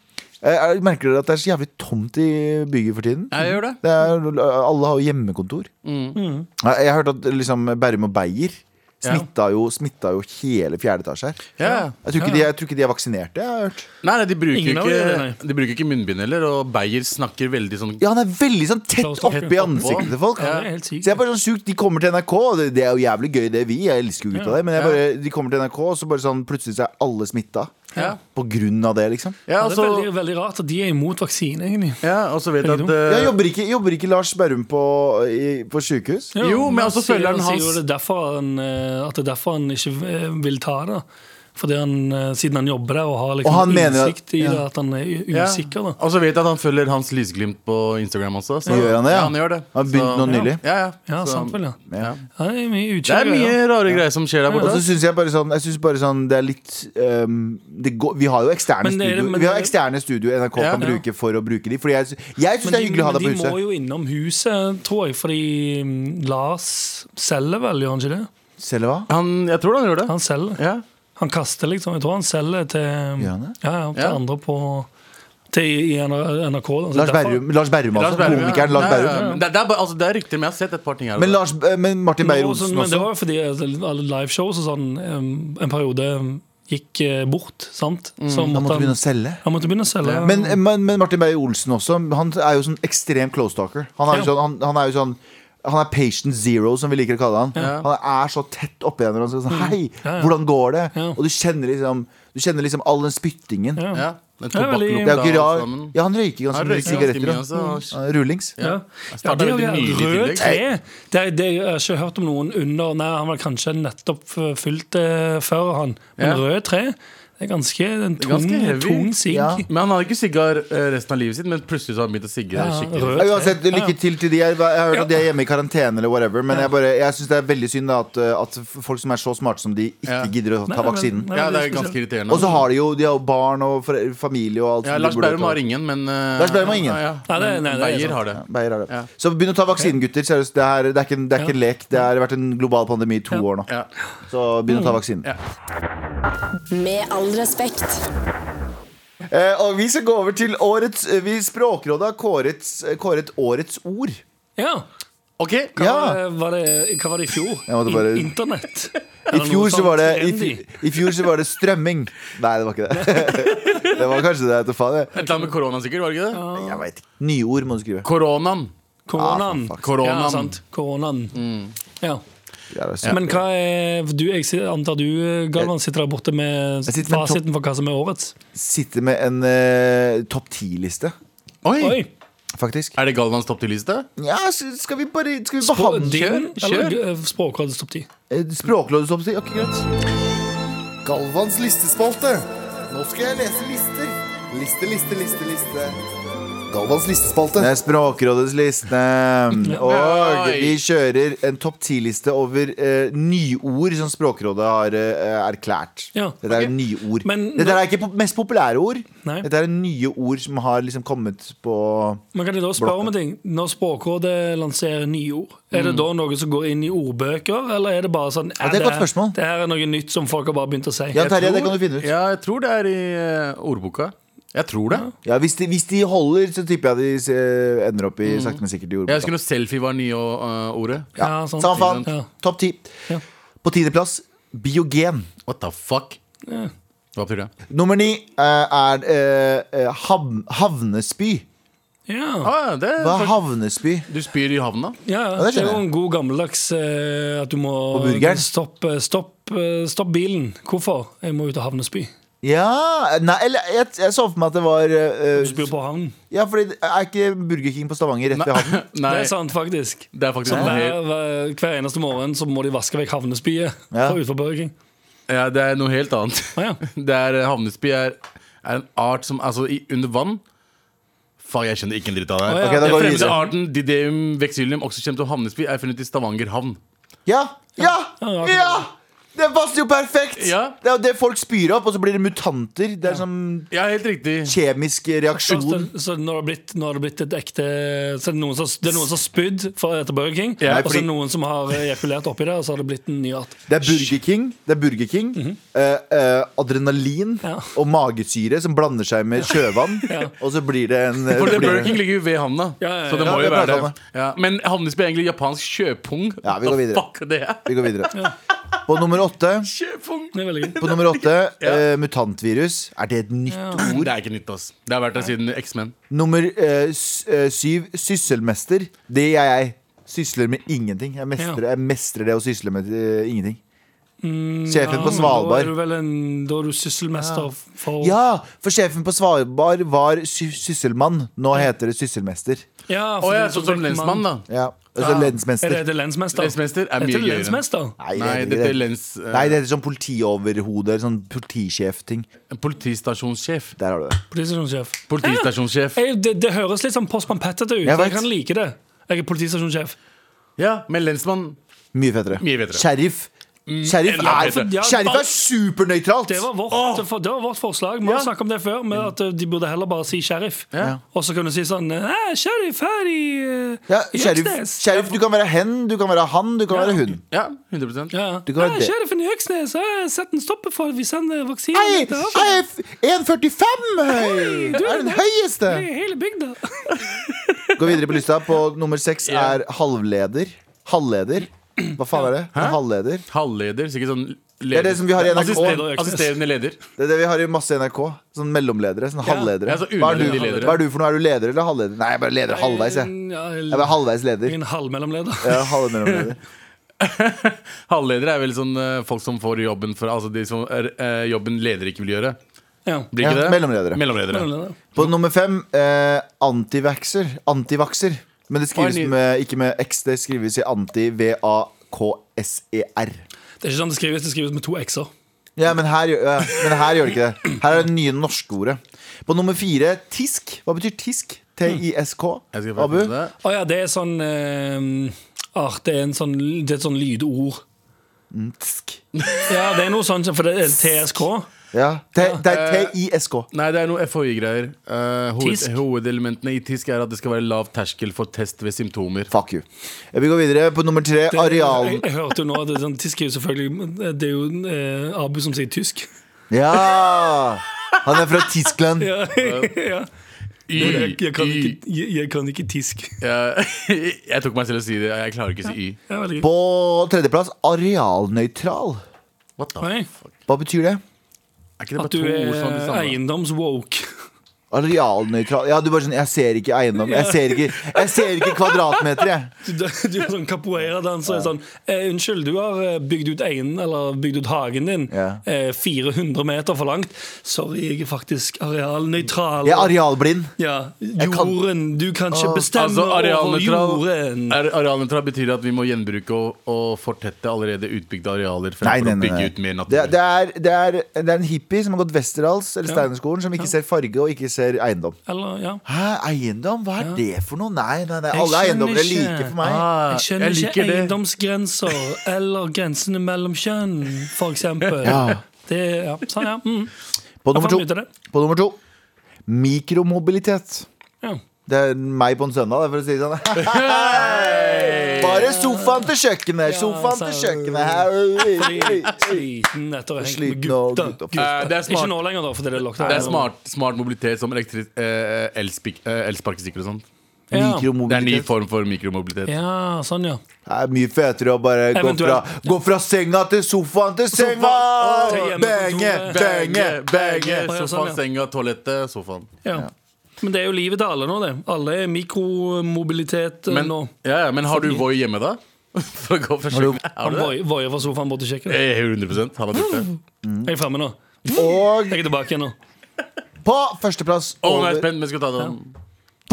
eh, er- merker dere at det er så jævlig tomt i bygget for tiden?
Jeg gjør det.
Det er, alle har jo hjemmekontor. Jeg, jeg har hørt at liksom Bærum og Beyer
Ja.
smitta jo, smitta jo hele fjerde etasje her.
Ja.
Jeg tror ikke, de, jeg tror ikke de er vaksinerte. Jeg har hørt
Nei, nei, de bruker,
Ingen av
ikke,
dem, nei.
de bruker ikke munnbind heller, og Beyer snakker veldig sånn
Ja, han er veldig sånn tett
Klaustrophobisk.
oppi ansiktet til folk.
Ja, det er helt sykt.
Så jeg er bare sånn sjukt, De kommer til NRK, og det, det er jo jævlig gøy, det vi. Jeg elsker jo gutta der. Men jeg bare, de kommer til NRK, og så bare sånn plutselig så er alle smitta.
Ja.
På grunn av det, liksom.
Ja,
Ja,
og så
Det er veldig, veldig rart at de er imot vaksine, egentlig.
ja, og så vet
Veldig
at
dumt.
eh,
Jeg jobber ikke, jobber ikke Lars Berrum på, i- på sjukehus?
Ja,
Jo, men
man
altså,
sier-
følgeren
sier jo
hans-
det er derfor han, eh, At det er derfor han ikke eh, vil ta det. Fordi han, eh, Siden han jobber der og har liksom
Og han mener at-
innsikt i det,
ja.
at han er u-
ja.
usikker. da
Og så vet jeg at han følger Hans Lysglimt på Instagram også. Så.
Gjør han det, ja?
Ja, han gjør det.
Han har begynt
Så-
nå nylig.
Ja, ja.
Ja,
Så-
sant vel, ja.
ja.
Ja, Det er mye
Det er
ukjære.
mye rare greier som skjer der
Og
borte.
så syns jeg bare sånn, jeg synes bare sånn Det er litt ehm, det går, Vi har jo eksterne
Men det er-
studio
men
Vi har
det-
eksterne studio NRK
Ja.
kan bruke for å bruke de. Fordi jeg, sy- jeg syns det er hyggelig å ha deg på
men de må
huset.
jo innom huset, tror jeg, fordi mm, Lars selger vel, gjør han ikke det?
Selv hva?
Han, jeg tror han gjør det.
Han selger.
Ja.
Han kaster, liksom. Jeg tror han selger til,
Gjør
ja,
han det?
ja, til
Ja.
andre på til, i NRK. Da. Så
Lars
derfor-
Berrum, Lars Berrum altså.
Lars Berrum, ja.
Komikeren Lars
Ja, ja,
Berrum.
ja. Det, det, er bare, altså, det er rykter, men jeg har sett et par ting her. og
Men,
der.
Lars, eh, men Martin Beyer-Olsen
Nå, men det
også.
var jo fordi altså, alle liveshows og sånn em, en periode gikk eh, bort, sant?
Mm.
Så
Han måtte
måtte han,
begynne å selge.
han måtte begynne å selge.
Men, men, men Martin Beyer-Olsen også, han er jo sånn ekstrem close talker. Han er jo
Ja.
sånn, han, han er jo sånn han er patient zero, som vi liker å kalle han.
Ja.
Han er så tett oppi henne. og han sier Sånn, Hei,
Mm. Ja, ja.
hvordan går det?
Ja.
Og du kjenner liksom Du kjenner liksom all den spyttingen.
Ja.
ja. Den
Ja, veldig-
Det er jo
tobakklukta og
ikke rar
sammen.
Ja, han røyker ganske
Han
mye
røyker ganske
sigaretter.
mye altså.
da.
også. og-
Ja, Rullings.
Ja.
Jeg
Ja,
startet
det er jo
veldig nylig i
rød
tillegg.
te. Det, er- det, jeg har ikke hørt om noen under Nei, han var kanskje nettopp eh, fylt det før, han. Men
Ja.
rød tre Det er ganske en tung,
Ganske heavy.
tung sigg.
Ja.
Men han hadde ikke siggar eh, resten av livet sitt, men plutselig så har han begynt å sigge
Ja,
skikkelig.
rød.
Ja, Uansett, lykke til til de. Jeg, jeg har hørt at de er hjemme i karantene eller whatever. Men jeg, bare- jeg syns det er veldig synd da, at, eh, at folk som er så smarte som de, ikke
Ja.
gidder å ta
Nei, men-
vaksinen.
nei,
Ja, det
det
er
er
ganske irriterende.
Og så har de jo de har jo barn og fore- familie og alt.
ja,
som de
Lars
burde
Bærum
ta.
har ingen, men eh,
Lars Bærum har ingen.
Ja,
Nei, det-
men
nei, det er
Beyer
sant.
har det.
Beier har det.
Ja.
Så begynn å ta vaksinen, gutter. Seriøst, det, er, det, er ikke, en- det er ikke en lek. Det har vært en global pandemi i to år nå.
Ja. Mm.
Så begynn å ta vaksinen.
Ja.
Med all respekt.
Eh, og vi skal gå over til årets eh, vi, Språkrådet har kåret, eh, kåret årets ord.
Ja.
Ok,
Hva,
Ja.
var det, hva var det i fjor?
Jeg måtte bare-
In- Internett?
I fjor, så var det, i, fj- I fjor så var det strømming. Nei, det var ikke det. det var kanskje det. jeg vet da faen, jeg.
Et eller annet med korona sikkert, var det ikke det?
Jeg vet ikke. Nye ord må du skrive.
Koronaen.
Koronaen.
Ah, for fuck.
Koronaen.
Ja, sant. Koronaen.
Mm.
Ja.
Ja, det er sykt.
Men hva er du, Jeg si- antar du, Galvan, sitter der borte med
Jeg sitter med en topp-
fasiten for hva som er årets?
Sitter med en eh, topp ti-liste,
Oi.
Oi!
faktisk.
Er det Galvans topp 10-liste?
Ja, så skal vi bare Skal vi
Spå-
behandle
din-
kjør,
eller, eh, Språkrådets topp ti.
Eh, Språkrådets oppsikt? Ok, greit.
Galvans listespalte. Nå skal jeg lese lister. Liste, liste, liste, liste. Galvans listespalte.
Det er Språkrådets liste. Og
Oi.
vi kjører en topp ti-liste over eh, nyord som Språkrådet har eh, erklært.
Ja,
Dette er
ok.
nyord.
Men
Dette
nå-
er ikke po- mest populære ord.
Nei.
Dette er nye ord som har liksom kommet på
Men kan jeg da spørre om en ting? Når Språkrådet lanserer nye ord, er
Mm.
det da noe som går inn i ordbøker, eller er det bare sånn
Ja, det er et godt spørsmål.
Det her er noe nytt som folk har bare begynt å si.
Ja, Terje, det kan du finne ut. Ja,
Ja, jeg tror det er i eh, ordboka. Jeg tror det.
hvis, de, hvis de holder, så tipper jeg de eh, ender opp i sakte, men sikkert i
Jeg
ordboka.
husker når selfie var nye eh, ordet.
Ja, sant.
Samme faen.
Ja.
Topp ti.
Ja.
På tiendeplass biogen.
What the fuck?
Ja.
Hva betyr det?
Nummer ni eh, er eh, eh, hav havnespy.
Ja.
Ah, det
Hva er havnespy?
du spyr i havna?
Ja,
Ja,
det
det
er jo
skjønner jeg.
en god gammeldags eh, at du må
Og burgeren.
stoppe, stopp, eh, stopp bilen. Hvorfor? Jeg må ut og havnespy.
Ja Nei, eller jeg, jeg så for meg at det var eh,
Spyr på havnen.
Ja, fordi det er ikke Burger King på Stavanger rett ved havnen?
Nei,
Det er sant, faktisk.
det er faktisk
Så
noe
hver,
helt,
hver, hver eneste morgen så må de vaske vekk havnespyet
Ja.
fra utenfor Burger King.
ja, det er noe helt annet.
Ah, ja.
Det er eh, Havnespy er, er en art som Altså, i, under vann Faen, jeg skjønner ikke en dritt av det. her.
Å, ja.
Ok, da
Den
går vi
fremmede
videre.
arten Dideum vexillium, også kjent som havnespy, er funnet i Stavanger havn.
Ja! Ja!
Ja, ja.
ja. Det passer jo perfekt!
Ja.
Det er jo det folk spyr opp, og så blir det mutanter. Det er sånn
Ja, helt riktig.
kjemisk
Så,
reaksjon.
så når, det har blitt, når det har blitt et ekte Så er det noen som, det er noen som har spydd for etter Burger King,
Ja,
og så er
fordi-
det noen som har ejakulert oppi det, og så har det blitt en ny art.
Det er Burger King, det er Burger King eh, eh, adrenalin
Mhm. Ja.
og magesyre som blander seg med sjøvann. Og så blir det en eh,
For det
blir
Burger
det-
King ligger jo ved havna,
Ja, ja, ja.
så det må jo
Ja, det er
være
bra,
det. Ja. Men havnespy er egentlig japansk sjøpung.
Ja, vi går
Hva
videre.
Fuck er det er?
Vi går videre. På nummer åtte,
Sjøpung!
Det er veldig gøy.
på nummer åtte eh, mutantvirus. Er det et nytt
Ord er ikke nytt, ass. Det har vært der siden X-Men.
Nummer eh, s- eh, syv, sysselmester. Det gjør jeg. Sysler med ingenting. Jeg mestrer,
Ja. Mm,
jeg mestrer det å sysle med eh, ingenting. Sjefen
Ja, men
på
Da er
Svalbard.
du vel en Da er du sysselmester for
Ja, for sjefen på Svalbard var sy sysselmann. Nå heter det sysselmester.
Ja,
Å
for
ja,
det er
sånn som lensmann, da.
Ja, altså
Er det,
lensmester.
er det lensmester?
Lensmester er mye
Heter det
gøyere.
lensmester?
Nei, det
Nei,
heter
dette
ikke
er
det.
lens... eh,
Nei, det heter sånn politioverhode. eller Sånn politisjef-ting.
Politistasjonssjef.
Der har du det.
Politistasjonssjef.
Politistasjonssjef.
Jeg- Det, det høres litt sånn Postmann Petter ut.
Jeg
Jeg,
vet.
kan like det. Jeg er politistasjonssjef.
Ja, men lensmann
Mye fettere.
Mye fettere.
Sheriff. Sheriff
enda
er,
fettere.
Ja,
sheriff
alt-
er supernøytralt!
Det var vårt, det for- det var vårt forslag. Vi har
Ja.
snakket om det før, med at eh, de burde heller bare si sheriff.
Ja.
Og så kunne du si sånn eh, Sheriff her i, eh,
Ja,
i
sheriff,
Øksnes.
sheriff, du kan være hen, du kan være han, du kan være hun.
Ja, 100
Ja.
Du kan være
«Eh,
det.
Sheriffen i Øksnes, jeg setter en stopper for vi sender vaksine
Hei,
til
jeg er f- 1,45 høy!
du
er
er
den
den-
høyeste!
i hele bygda.
Gå videre på lista. På nummer seks er halvleder. Halvleder? Hva faen er det? En halvleder?
Halvleder, sikkert sånn leder.
Det er det som vi har i NRK.
Assisterende, assisterende leder.
Det er det vi har i masse NRK. Sånn mellomledere. Sånn halvledere.
ja, så
Hva er,
unødvendige
du,
ledere.
hva er du for noe? Er du leder eller halvleder? Nei, jeg er bare leder halvveis, jeg.
Mm, Ja,
Jeg er bare halvveis leder.
en halvmellomleder.
Ja, halvmellomleder.
Halvledere er vel sånn eh, folk som får jobben for Altså de som er, eh, jobben ledere ikke vil gjøre.
Ja.
Blir ikke det?
Ja, mellomledere.
Mellomledere.
Mellomleder.
På nummer fem eh, antivaxer. Antivakser. Men det skrives
Oi, ny-
med, ikke med X, det skrives i anti-v-a-k-s-e-r.
Det er ikke sånn det skrives, det skrives med to x-er.
E Ja, men her, gjør- ja, men her gjør det ikke det. Her er det nye norske ordet. På nummer fire tisk. Hva betyr tisk? T-I-S-K.
Jeg skal
Abu?
faktisk det.
Å ja, det er sånn eh, ah, Det er en sånn, det er et sånn lydord.
Tisk.
Ja, det er noe sånn, for det er TSK.
Ja. T det er T-I-S-K.
Nei, det er noe FHI-greier. Eh, hoved,
Tisk.
hovedelementene i tisk er at det skal være lav terskel for test ved symptomer.
Fuck you. Vi går videre på nummer tre.
Det-
Areal...
Jeg, jeg hørte jo nå at det er sånn, tysk er jo selvfølgelig Det er jo eh, Abu som sier tysk.
Ja! Han er fra Tyskland.
Ja, ja. Jeg, jeg, kan
Y.
ikke, jeg, jeg kan ikke tysk.
Jeg, jeg tok meg selv å si det. Jeg klarer ikke å si y.
Det er veldig gøy.
På tredjeplass arealnøytral.
What the?
Nei,
Hva betyr det?
Er ikke det
At
bare
du eh,
to ord som er det
er
samme?
eiendoms-woke.
Arealnøytral Ja, du bare sånn Jeg ser ikke eiendom. Jeg ser ikke, jeg ser ikke kvadratmeter, jeg.
Du, du er sånn capoeira-danser. Sånn, eh, 'Unnskyld, du har eh, bygd ut einen, eller bygd ut hagen din
Ja.
eh, 400 meter for langt.' 'Sorry, jeg er faktisk arealnøytral.'
Jeg er arealblind.
ja,
kan-
jorden. Du kan ikke bestemme
Altså,
over jorden.
arealnøytral, er- arealnøytral betyr at vi må gjenbruke og, og fortette allerede utbygde arealer fremfor å bygge ut mer natur.
Det, det, er, det, er, det er en hippie som har gått Westerdals eller
Ja.
Steinerskolen, som ikke ser farge og ikke ser eiendom.
Eller, ja.
Hæ, eiendom? Hva er det for noe? Nei, nei, nei.
Jeg
alle eiendommer er
skjønner
like
ikke.
for meg.
Ah,
Jeg skjønner ikke
liker det.
eiendomsgrenser eller grensene mellom kjønn, for eksempel.
Ja.
Det, ja. Sånn, ja. Mm.
På nummer
Jeg
to.
fant ut av det.
På nummer to. Mikromobilitet.
ja.
Det er meg på en søndag, det, for å si det sånn. Bare sofaen til kjøkkenet!
Ja,
Sofaen til
altså.
kjøkkenet!
Sliten etter å henge med
Sliten og
gutta.
gutta.
gutta.
Eh, det er
Ikke
smart.
nå lenger, da, fordi det er lockdown.
Det er smart, smart mobilitet som elektri- eh, elspik- eh, elsparkesykkel og sånt.
Ja.
Det er en ny
Mikromobilitet.
form for mikromobilitet.
ja, sånn, ja.
Det er mye fetere å bare gå fra,
Eventuelt.
gå fra senga til sofaen til senga!
til hjemmekontoret.
Benge, benge, benge!
Å, ja, sånn,
Sofaen,
ja.
senga, toalettet, sofaen.
ja. Men det er jo livet til alle nå, det. Alle er mikromobilitet eh,
Men,
nå.
ja, ja, men har du Voi hjemme, da? For å gå fra kjøkkenet? Har
Han
du det?
voi- voier fra sofaen bort til kjøkkenet.
Eh, 100 han har gjort det.
Jeg er fremme nå.
Og
Jeg er tilbake igjen nå.
på førsteplass
Å, nå er jeg
over
spent, men skal vi ta det om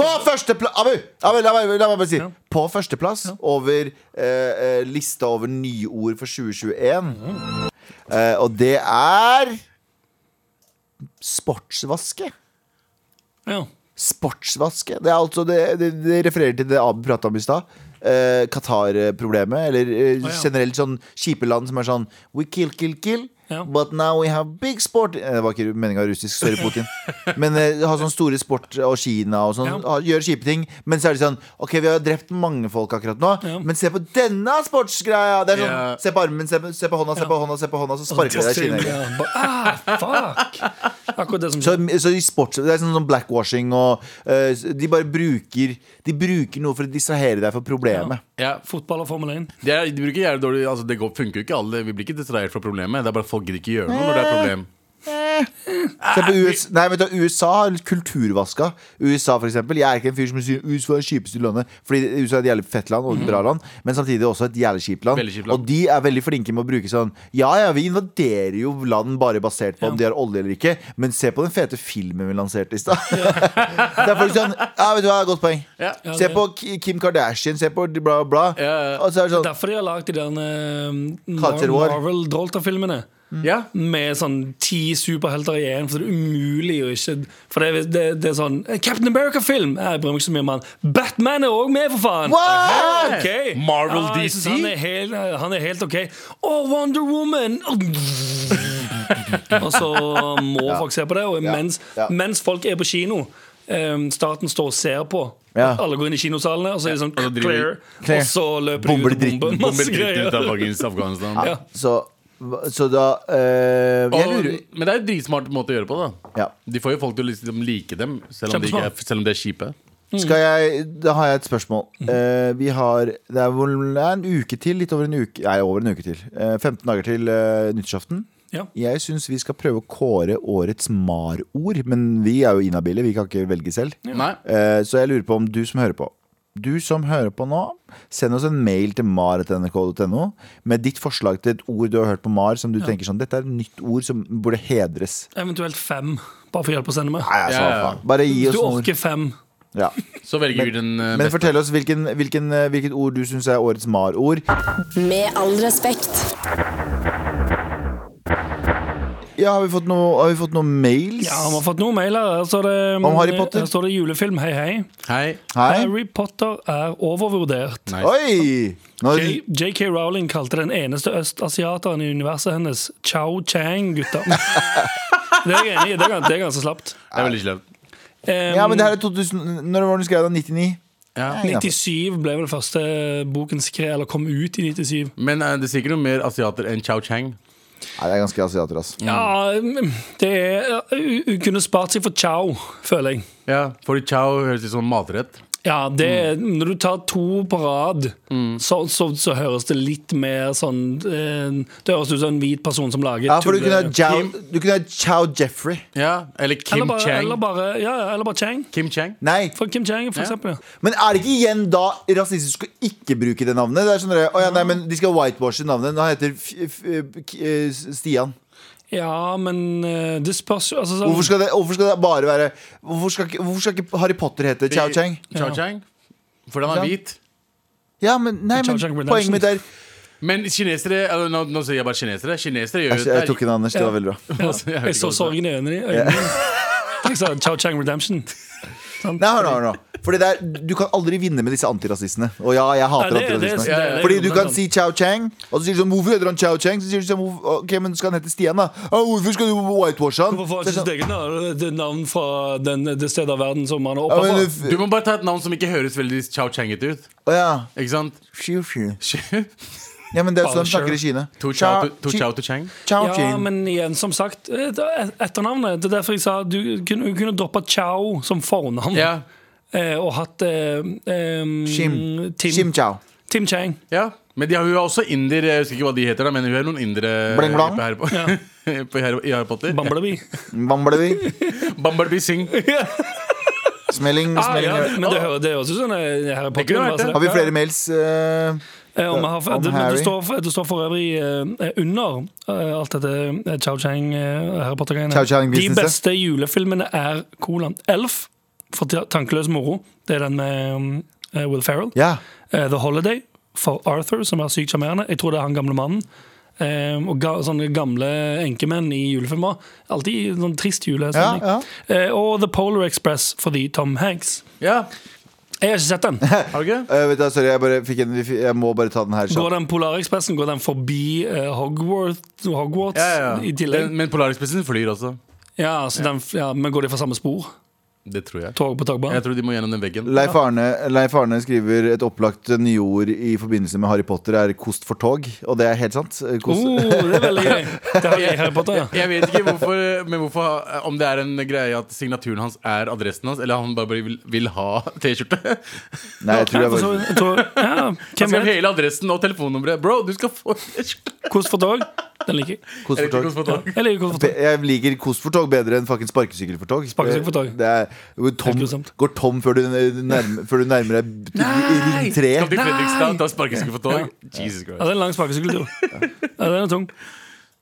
På førsteplass Abu! Abu la, meg, la meg bare si. På førsteplass over eh, eh, lista over nyord for 2021. Eh, og det er sportsvaske.
Ja.
Sportsvaske. Det er altså det, det, det refererer til det Abu prata om i stad. Eh, Qatar-problemet, eller eh,
Å, ja.
generelt sånn kjipe land som er sånn We kill, kill, kill,
Ja.
but now we have big sport Eh, Det var ikke meninga russisk, sorry, Putin. Men eh, ha sånn store sport og Kina og sånn.
Ja.
ha- Gjør kjipe ting. Men så er det sånn OK, vi har drept mange folk akkurat nå,
Ja.
men se på denne sportsgreia! Det er sånn,
Ja.
Se på armen, se på, se på hånda, se på hånda, se på hånda, så sparker jeg deg i kinnet.
Ja, ba- ah, fuck! Akkurat det som
Så, så i sports, det er sånn, sånn blackwashing og eh, De bare bruker De bruker noe for å distrahere deg for problemet.
ja,
Fotball og Formel 1.
det, er, de bruker jævlig dårlig altså, Det går, funker jo ikke alle. Vi blir ikke distrahert fra problemet. Det er bare at folk gidder ikke gjøre noe når det er et problem.
Se
Eh,
på US, nei, vet du, USA har litt kulturvaska. USA, for eksempel. Jeg er ikke en fyr som sier USA er det kjipeste landet. Fordi USA er et jævlig fett land og et bra land, men samtidig også et jævlig kjipt land.
Mm. Veldig kjipt land.
Og de er veldig flinke med å bruke sånn Ja ja, vi invaderer jo land bare basert på om de har olje eller ikke, men se på den fete filmen vi lanserte i stad. det er folk sånn Ja, vet du hva, godt poeng.
Ja.
Ja,
Se
det-
på Ki- Kim Kardashian, se på bla, bla.
Ja, ja.
Og så er det sånn
Derfor de har lagd de der eh,
Culture War.
Marvel-Dolta-filmene.
Ja.
Med sånn ti superhelter i én, for det er umulig å ikke For det, er- det, det er sånn eh, Captain America-film! Eh, Jeg bryr meg ikke så mye om han. Batman er òg med, for faen! Eh,
What?
Ok.
Marvel
Ja, jeg synes
DC?
Han er helt, eh, han er helt OK. Og Wonder Woman! og så må folk se på det. Og mens,
ja.
mens folk er på kino, eh, staten står og ser på.
Ja.
Alle går inn i kinosalene, og så er det sånn
og driver-
clear.
Clear.
Og så løper
Bomber
de ut og
dritten.
bomber
Bomber
masse
dritten ut
greier.
av fuckings Afghanistan.
Ja.
Så, så da eh, Jeg
Og,
lurer
men det er en dritsmart måte å gjøre på. da
ja.
De får jo folk til å liksom like dem, selv om, de ikke er, selv om de er kjipe.
Skal jeg, da har jeg et spørsmål.
Mm.
Eh, vi har det er, vel, det er en uke til. Litt over en uke Nei, over en uke til. Eh, 15 dager til eh, nyttårsaften.
Ja.
Jeg syns vi skal prøve å kåre årets MAR-ord, men vi er jo inhabile. Vi kan ikke velge selv.
Nei?
Eh, så jeg lurer på om du som hører på du som hører på nå, send oss en mail til mar.nrk.no med ditt forslag til et ord du har hørt på Mar som du tenker sånn Dette er et nytt ord som burde hedres.
Eventuelt fem, bare for å hjelpe å sende meg.
Nei, altså,
Ja, ja.
faen. Bare gi
Hvis
oss
du
noen ord.
orker fem.
Ja.
Så velger vi den eh,
Men
beste.
fortell oss hvilken, hvilken, eh, hvilket ord du syns er årets MAR-ord.
Med all respekt.
Ja, har vi fått noe, har vi fått noe mails?
Ja, Vi har fått noen mailer. Her står det, eh,
Om Harry Potter?
Her står det julefilm. Hei, hei.
Hei.
Hei.
Harry Potter er overvurdert.
Nei.
Oi! Nå,
J- JK Rowling kalte den eneste østasiateren i universet hennes Chow Chang, gutter. Det er jeg enig i. Det er, gans- det er ganske slapt.
Det er veldig slemt.
Em,
ja, men det her er 2000 Når var det du skrev da? 99?
Ja.
Nei, da.
97 ble vel første boken skrevet, eller kom ut i 97.
Men eh, det er sikkert noe mer asiater enn Chow Chang.
Nei, det er ganske asiater, ass.
Ja, mm, det er Hun hun kunne spart seg for chow, føler jeg.
Ja, fordi chow høres ut som matrett.
Ja, det, Når du tar to på rad, så, så, så høres det litt mer sånn eh, Det høres ut som en hvit person som lager
Ja, for du
tulle-
kunne ha Chow, du kunne ha Chow Jeffrey.
Ja, Eller Kim
eller, bare,
Chang.
eller, bare, ja, ja, eller bare Chang.
Kim Chang.
Nei,
For Kim Chang, for
Ja.
eksempel. ja.
men er det ikke igjen da rasistisk å ikke bruke det navnet? Det er sånn, dere, å ja, nei, men De skal whitewashe navnet. Han heter F F K eh, Stian.
Ja, men eh, det spørs jo altså, sånn-
Hvorfor skal det, hvorfor skal det bare være hvorfor skal, ikke- hvorfor skal ikke Harry Potter hete Chow Chang?
Chow
Ja.
Chang. Fordi han er hvit.
Ja, men, nei,
Chow
men
Chang Redemption.
Poenget mitt er
Men kinesere eller, nå, nå sier jeg bare kinesere. Kinesere gjør
Jeg, jeg tok den, Anders. Det var veldig bra.
ja,
altså, jeg vet
Jeg
ikke
så
hva det
sorgen i øynene dine. Jeg sa Chow Chang Redemption. Sant?
Nei, hør nå, hør nå. Fordi det er, Du kan aldri vinne med disse antirasistene. Og ja, jeg hater
Nei, det- det-
antirasistene.
det- det- det-
Fordi du kan
det-
si Chow Chang, og så sier du sånn Hvorfor heter han Chow Chang? Så sier du sånn «Hvorfor- Ok, men skal han hete Stian, da? «Å, hvorfor skal du whitewash han?
Hvorfor har
Så er det
ikke sitt eget
sånn,
navn, det navn fra den, det stedet av verden som han er
«Ja,
oppe
ah, men,
fra?
f-
Du må bare ta et navn som ikke høres veldig Chow Chang-ete ut.
Å ja.
Ikke sant?
Fju, fju.
Chi-
Ja, men det er
Bare
sånn de snakker i Kina.
To Chow to- to Chow to Chang.
Chow
Ja,
Ching.
men igjen, som sagt, eh, det er et- etternavnet. Det er derfor jeg sa du kunne, kunne droppa Chow som fornavn.
Ja.
eh, Og hatt eh, em,
Shim.
Tim,
Shim Chow.
Tim Chang.
ja. Men de har, hun er også indier. Jeg husker ikke hva de heter, da men hun er noen indere
Bling blang.
på Harry, Po- på Harry, i Harry Potter.
Bumblebee.
Bamblevi.
Bumblebee Singh. Det
Smelling,
Ah,
smelling.
ja, men det hø- det høres ut som eh, Harry Potter.
kunne vært det.
Har vi flere mails? eh?
Eh, og vi har,
Om
det, men
Harry?
det, står, for- det står for øvrig eh, under eh, alt dette eh, Chow Chang eh, Harry
Chow
Potter-greiene. De
Chang-businesset.
beste julefilmene er Kolan Elf, for ta- tankeløs moro. Det er den med um, eh, Will Ferrell.
Ja.
Eh, The Holiday for Arthur, som er sykt sjarmerende. Jeg tror det er han gamle mannen. Eh, og ga, sånne gamle enkemenn i julefilmer. Alltid sånn trist julestemning.
Ja,
Eh, og The Polar Express fordi Tom Hanks.
Ja,
Jeg har ikke sett den.
har du ikke?
Eh, vet du, hva, sorry, jeg, bare fikk en, vi fikk- jeg må bare ta den her.
Går
kjapt.
den Polarekspressen går den forbi eh, Hogwarts, Hogwarts
Ja, ja.
i tillegg?
Den, men Polarekspressen flyr også.
ja, så den, ja, Men går de fra samme spor?
Det tror jeg.
Tog på togbanen?
Jeg tror de må gjennom den veggen.
Leif Arne, Leif Arne skriver et opplagt nyord i forbindelse med Harry Potter er 'kost for tog'. Og det er helt sant. Eh, Kost.
Oh, det er veldig gøy. Det har jeg i Harry Potter. Ja.
Jeg vet ikke hvorfor, men hvorfor om det er en greie at signaturen hans er adressen hans, eller han bare vil, vil ha T-skjorte.
Nei, jeg
Ja,
tror jeg
for så,
bare
jeg tror, ja,
Han
hvem
skal ha
vet?
hele adressen og telefonnummeret. Bro, du skal få T-skjorte!
Kost for tog? Den liker jeg.
Kost for tog.
Jeg liker kost for tog.
Pe- Jeg liker kost for tog bedre enn fucking sparkesykkel for tog.
Sparkesykkel for tog.
Det er, hvor tom,
Helt grusomt.
går tom før du, nærmer, før du nærmer deg ring
Skal til
tre.
Fredrikstad, da sparkes ikke på tog. Jesus
Ja,
Christ.
det er en lang spakesykkeltur. Ja, den er tung.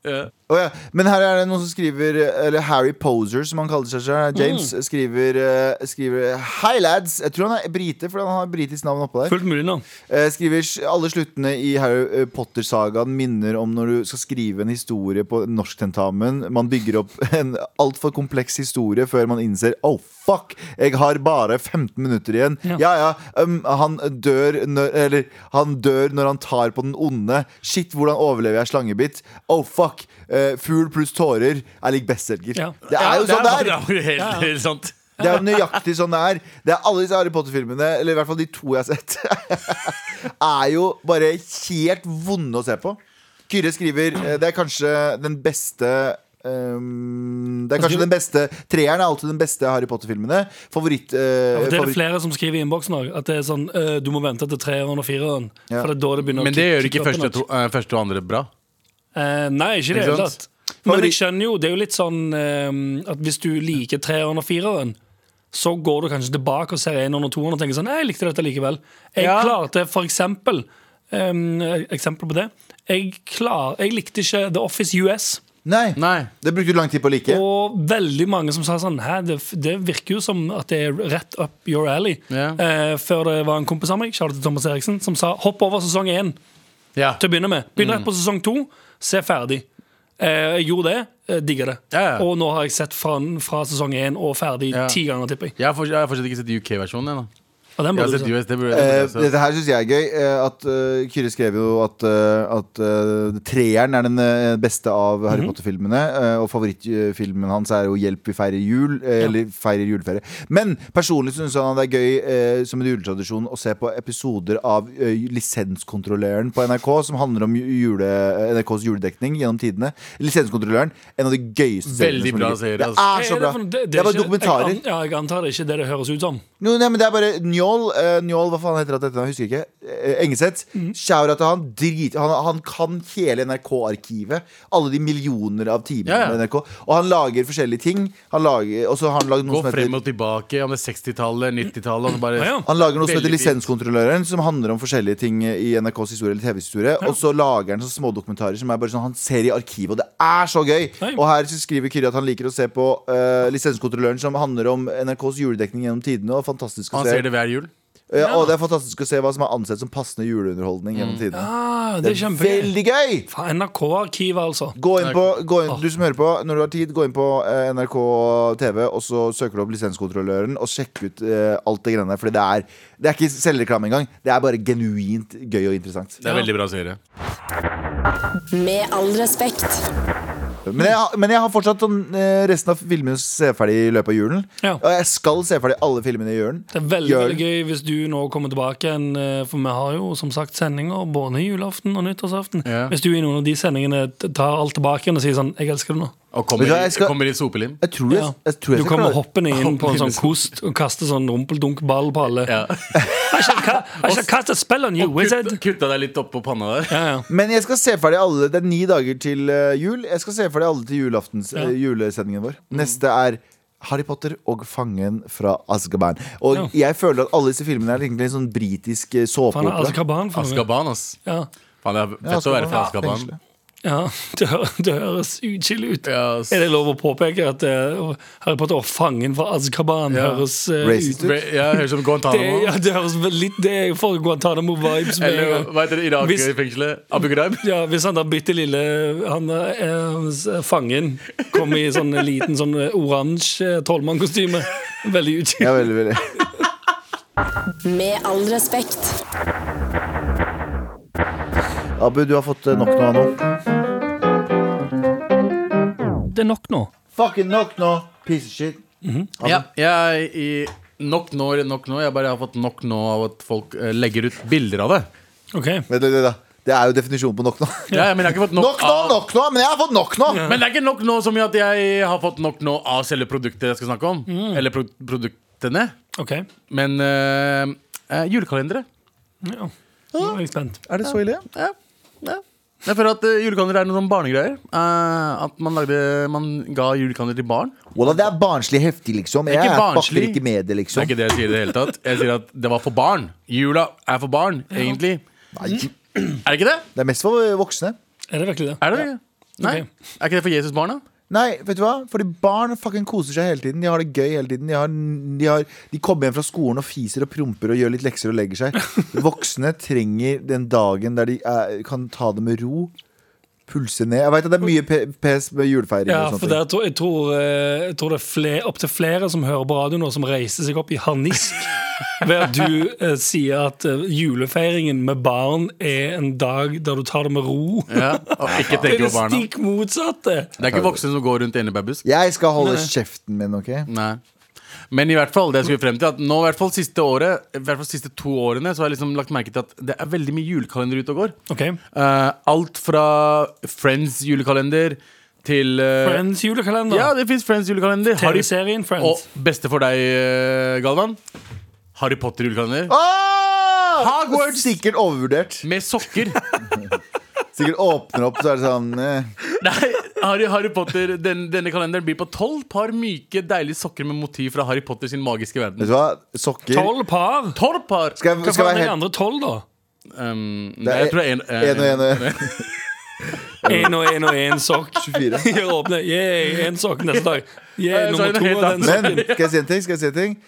Å ja. Men her er det noen som skriver Eller Harry Poser, som han kaller seg selv. James skriver, eh, skriver Hei, lads. Jeg tror han er brite, for han har britisk navn oppå der.
Fullt mulig nå.
Eh, Skriver s- alle sluttene i Harry eh, Potter-sagaen minner om når du skal skrive en historie på norsktentamen. Man bygger opp en altfor kompleks historie før man innser Oh, fuck! Jeg har bare 15 minutter igjen. Ja,
Ja.
ja. um, han, dør når, eller, han dør når han tar på den onde. Shit, hvordan overlever jeg slangebitt? Oh, fuck! Uh, Fugl pluss tårer er lik bestselger.
Ja.
Det er jo sånn det er!
Det er jo helt, helt sant.
Det er jo nøyaktig sånn det er. Det er Alle disse Harry Potter-filmene, eller i hvert fall de to jeg har sett, er jo bare helt vonde å se på. Kyrre skriver eh, Det er kanskje den beste ehm, det er kanskje den beste Treeren er alltid den beste Harry Potter-filmene. Favoritt,
Det
eh,
er det
favoritt
flere som skriver i innboksen òg. At det er sånn, eh, du må vente til treeren og fireren.
Ja.
For det er da det begynner å
Men det
kick-
gjør ikke
kicke opp
første,
en
to,
notch.
eh, første og andre bra.
Eh, nei, ikke i det
Ikke
hele
sant?
tatt. Men jeg
Favoritt-
skjønner jo, det er jo litt sånn eh, at hvis du liker treeren og fireren, så går du kanskje tilbake og ser eneren og toeren og tenker sånn «Nei, Jeg likte dette likevel. Jeg
Ja.
klarte for eksempel eh, Eksempel på det. Jeg, klar, jeg likte ikke The Office US.
Nei.
Nei.
Det brukte du lang tid på å like.
Og veldig mange som sa sånn Hæ, det, det virker jo som at det er rett up your alley.
Ja.
Eh, før det var en kompis av meg, Charlotte Thomas Eriksen, som sa hopp over sesong én
Ja.
til å begynne med. Begynn rett på sesong to, se ferdig. Eh, Jeg gjorde det, eh, digga det.
Ja, ja.
Og nå har jeg sett fra, fra sesong én og ferdig
Ja.
ti ganger, tipper jeg.
Jeg har fortsatt, jeg har fortsatt ikke sett UK-versjonen ennå.
Og den
Jeg
burde
har
du
sett
se.
US, det burde
Eh,
jeg
dette her syns jeg er gøy. eh, At eh, Kyrre skrev jo at, eh, at eh, treeren er den eh, beste av Harry
Mhm.
Potter-filmene. eh, og favorittfilmen hans er jo 'Hjelp, vi feirer jul'. eh, Eller 'Feirer juleferie'. Men personlig syns han det er gøy eh, som en juletradisjon å se på episoder av eh, Lisenskontrolløren på NRK, som handler om ju- jule, eh, NRKs juledekning gjennom tidene. Lisenskontrolløren, en av de gøyeste seriene
Veldig
som
bra
ligger.
serie,
Det
altså.
er så
Hva
bra.
for noe?
Det,
Eh, er
er bare
ikke-
dokumentarer.
Jeg, an- ja, jeg antar det er ikke det det høres ut som.
Jo, nei, men det er bare Njål, eh, Njål hva faen heter det etter Jeg husker ikke eh, Engeseth,
Mhm.
shout-out til han drit, han, han kan hele NRK-arkivet Alle de millioner av timer
Ja, ja.
med NRK Og han lager forskjellige ting Han lager, og så har han laget
Gå
noe som heter
frem og tilbake om det er 60-tallet, 90-tallet. og så bare-
Ah, Ja, ja.
han lager noe som heter
Veldig fint.
Lisenskontrolløren, som handler om forskjellige ting i NRKs historie eller TVs historie. Og så lager han sånne små dokumentarer som er bare sånn han ser i arkivet, og det er så gøy!
Nei.
Og her så skriver Kyrre at han liker å se på eh, Lisenskontrolløren, som handler om NRKs juledekning gjennom tidene. Og fantastisk å
Han
se
ser det hver jul.
Eh, Og det er fantastisk å se hva som er ansett som passende juleunderholdning gjennom tidene.
Ah, det er kjempegøy.
Veldig gøy!
Fra NRK-arkivet, altså.
Gå inn på, gå inn, du som hører på, når du har tid, gå inn på eh, NRK TV, og så søker du opp lisenskontrolløren, og sjekk ut eh, alt det greiene der. For det er, det er ikke selvreklame engang. Det er bare genuint gøy og interessant.
Det er veldig bra serie.
Med all respekt.
Men jeg, har- men jeg har fortsatt sånn, eh, resten av filmene å se ferdig i løpet av julen.
Ja.
Og jeg skal se ferdig alle filmene i julen.
Det er veldig,
Gjør
veldig gøy hvis du nå kommer tilbake igjen, eh, for vi har jo som sagt sendinger både julaften og nyttårsaften.
Ja.
Hvis du i noen av de sendingene t- tar alt tilbake igjen og sier sånn 'Jeg elsker det nå'.
Og
Vet du hva,
kommer,
jeg skal-
kommer i sopelim.
Jeg tror jeg,
Ja.
jeg, tror jeg
Du
skal
kommer
klare-
hoppende inn på en sånn
Hoppende.
kost og kaster sånn rumpeldunkball på alle.
Ja.
I shall, ca I shall cast a spell on you, wizard.
Kutta, kutta deg litt oppå panna der.
Ja, ja.
Men jeg skal se ferdig alle Det er ni dager til eh, jul. Jeg skal se ferdig alle til julaftens,
Ja.
eh, julesendingen vår.
Mm.
Neste er Harry Potter og Fangen fra Azkaban. Og jeg føler at alle disse filmene er egentlig en sånn britisk eh,
Faen,
såpeopera.
Azkaban. faen.
Azkaban, ass.
Ja.
Faen, det er fett å være fra Azkaban.
ja. Det, hø- det høres utskillig ut.
Ja, ass.
Er det lov å påpeke at eh, Harry Potter og fangen fra Azkaban
Ja.
høres eh,
Racist
ut?
ut.
Bre- Ja, høres ut som
Det, ja,
Guantánamo.
det høres vel litt Det er jo for Guantánamo-vibes. med en
Eller
gang.
hva heter det
Hvis-
Irak-fengselet? Abu Ghraib?
Ja, Hvis han da bitte lille han, eh, s- fangen kommer i sånn liten sånn eh, oransje tolvmannkostyme Veldig utskillig.
Ja, veldig, veldig.
Med all respekt.
Abu, du har fått eh, nok nå. nå.
Det er nok nå.
Fucking nok nå! Piece of shit.
Ja, jeg i Nok nå, nok nå. Jeg bare har fått nok nå av at folk eh, legger ut bilder av det.
Ok,
Vent litt, da. Det er jo definisjonen på nok nå.
Ja, men jeg har ikke fått nok,
Nok nå,
av
nok nå! Men jeg har fått nok nå!
Men det er ikke nok nå som i at jeg har fått nok nå av selve produktet jeg skal snakke om. Eller pro produktene.
ok
Men øh, øh, julekalendere.
ja. Nå er jeg spent.
Er det så ille? Ja. ja. Jeg føler at øh, julekalendere er noen sånn barnegreier. Eh, at man, lagde, man ga julekalender til barn.
Wallah, det er barnslig heftig, liksom.
er
Jeg
ikke
bakker
barnslig.
ikke med det,
Det er
liksom.
ikke det jeg sier i det hele tatt. Jeg sier at det var for barn. Jula er for barn, egentlig.
Nei, det
Er det ikke det?
er mest for voksne.
Er det virkelig det?
Er det det? Nei.
Ok.
Er ikke det for Jesus barn, da?
Nei, vet du hva? Fordi barn fucking koser seg hele tiden. De har det gøy hele tiden. De, har, de, har, de kommer hjem fra skolen og fiser og promper og gjør litt lekser og legger seg. Voksne trenger den dagen der de eh, kan ta det med ro. Pulse ned. Jeg veit at det er mye pe- pes med julefeiring.
Ja,
og
for
sånne
der,
sånn
tror-
ting.
jeg, tror, eh, jeg tror det er opptil flere som hører på radio nå, som reiser seg opp i harnisk ved at du eh, sier at eh, julefeiringen med barn er en dag der du tar det med ro.
Ja. Og
Det er
ikke tenke
det
på barna.
stikk motsatte!
Det er ikke voksne som går rundt enebabusk.
Jeg skal holde kjeften min, OK?
Mm.
Nei. Men i hvert fall, det jeg skulle frem til at nå i hvert fall siste året I hvert fall siste to årene Så har jeg liksom lagt merke til at det er veldig mye julekalender ute og går.
Ok,
Eh, alt fra Friends julekalender til eh,
Friends julekalender.
Ja, det fins Friends julekalender. Harry-
TV-serien
Og
Friends.
beste for deg, eh, Galvan. Harry Potter julekalender.
Åh!
Hogwarts!
Sikkert overvurdert.
Med sokker!
Sikkert åpner opp, så er det sånn eh.
Nei, Harry, Harry Potter, den, Denne kalenderen blir på tolv par myke, deilige sokker med motiv fra Harry Potter sin magiske verden.
Vet du hva? Sokker.
Tolv par!
Tolv par!
Skal
Hva
jeg, skal
faen er
jeg
de
være helt
andre tolv, da?
Um,
Det
nei, jeg tror
er
det er en, eh,
én og én og én.
Én og én og én sokk.
24.
Gjør åpne. Yeah, én sokk neste dag.
Eh,
Yeah,
så er
nummer
det
to
helt
av den
annet.
Men
sokken.
skal jeg si en ting? Skal jeg si en ting?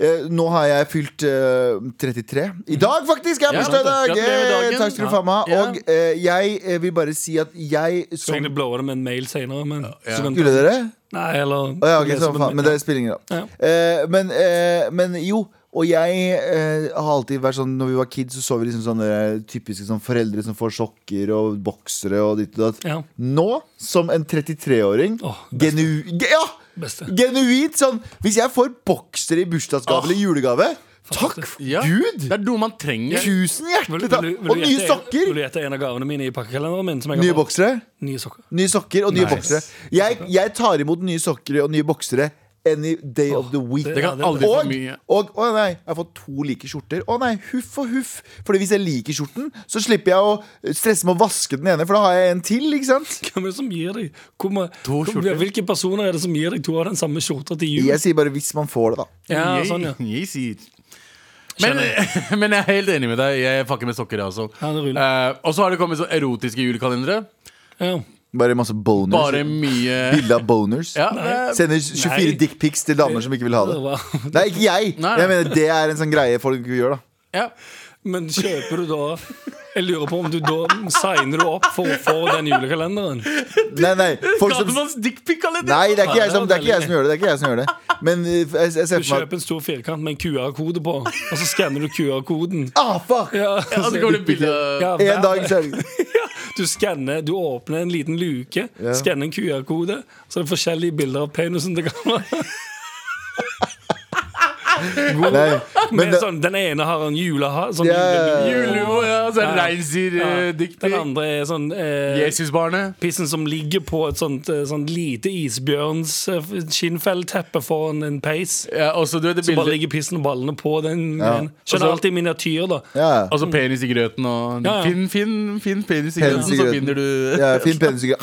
eh, Nå har jeg fylt eh, 33. I dag, faktisk! Jeg har
Mm. Ja,
bursdag i dag!
gratulerer med
Eh,
dagen.
Takk skal du faen meg
Ja.
ha. Og eh, jeg eh, vil bare si at jeg
Så
som
egentlig blower det med en mail senere, men så kan-
Gjorde dere?
Nei, eller
Å, ja, ok,
leser
samme
på
faen,
mail.
men det spiller ingen rolle. Eh, men, eh, men jo. Og jeg eh, har alltid vært sånn Når vi var kids, så så vi liksom sånne eh, typiske sånn foreldre som får sokker og boksere og ditt og datt.
Ja.
Nå, som en 33-åring
Åh, beste.
genu... ge- Ja!
Beste.
Genuint sånn Hvis jeg får boksere i bursdagsgave eller julegave, takk
Fantastisk.
Ja.
Gud!
Det er noe man trenger.
Tusen
Vil-
hjertelig
vil
takk!
du- vil
Og
du
nye
gjette-
sokker!
Vil du gjette en av gavene mine i pakkekalenderen min? Som jeg har
Nye
fått?
boksere.
Nye sokker.
Nye sokker og nye
Nice.
boksere. Jeg, jeg tar imot nye sokker og nye boksere any day of the week.
Det
Ja,
kan
det-
aldri
og,
for mye.
og å nei, jeg har fått to like skjorter. Å nei, huff og huff. Fordi hvis jeg liker skjorten, så slipper jeg å stresse med å vaske den ene, for da har jeg en til. ikke sant?
Hvem er det som gir deg Hvor ma-
To
hvor-
skjorter.
Hvilke personer er det som gir deg to av den samme skjorta til jul?
Jeg sier bare hvis man får det, da.
Ja,
Jeg-
sånn, ja.
jeg sier- Men, men jeg er helt enig med deg. Jeg fucker med sokker, jeg også.
Ja, det ruller.
Eh, og så har det kommet så erotiske julekalendere.
ja.
Bare masse boners.
Bare mye
Bilde av boners.
ja, det er-
Sender 24
Nei.
dickpics til damer som ikke vil ha det.
Det var-
Nei, ikke jeg.
Nei,
Jeg
nei.
mener Det er en sånn greie folk gjør, da.
ja.
Men kjøper du da Jeg lurer på om du da signer du opp for å få den julekalenderen?
Nei, nei, folk som
Gatemanns dickpic-kalender!
Nei, det er ikke jeg som, det er ikke jeg
veldig
som gjør det. det, er ikke jeg som gjør det Men eh, jeg,
Du
jeg ser for meg
kjøper en stor firkant med en QR-kode på, og så skanner du QR-koden.
at- Ah, fuck!
Ja,
Og så kommer det bilde av
Ja, hver-
En dag så er det
Du skanner, du åpner en liten luke, skanner en QR-kode, så er det forskjellige bilder av penisen til kameraet.
Nei, men eh,
Med
det,
sånn, den ene har en julehare. Sånn
Ja, ja, ja.
julelue.
Julelue, ja.
Ja. Ja.
Så er det
Den
reinsdyr-dickpic.
andre er sånn eh,
Jesusbarnet.
Pissen som ligger på et sånt, eh, sånn lite isbjørns eh, skinnfellteppe foran en peis.
Ja, og så du vet det
Så bare
bildet
ligger pissen og ballene på den.
Ja.
den. Skjønner
Og så-
alltid miniatyr, da.
ja.
Og så penis i grøten og
Ja, ja.
Finn, finn, finn penis i grøten,
Penis i
så
grøten.
finner du
ja Finn penisikker.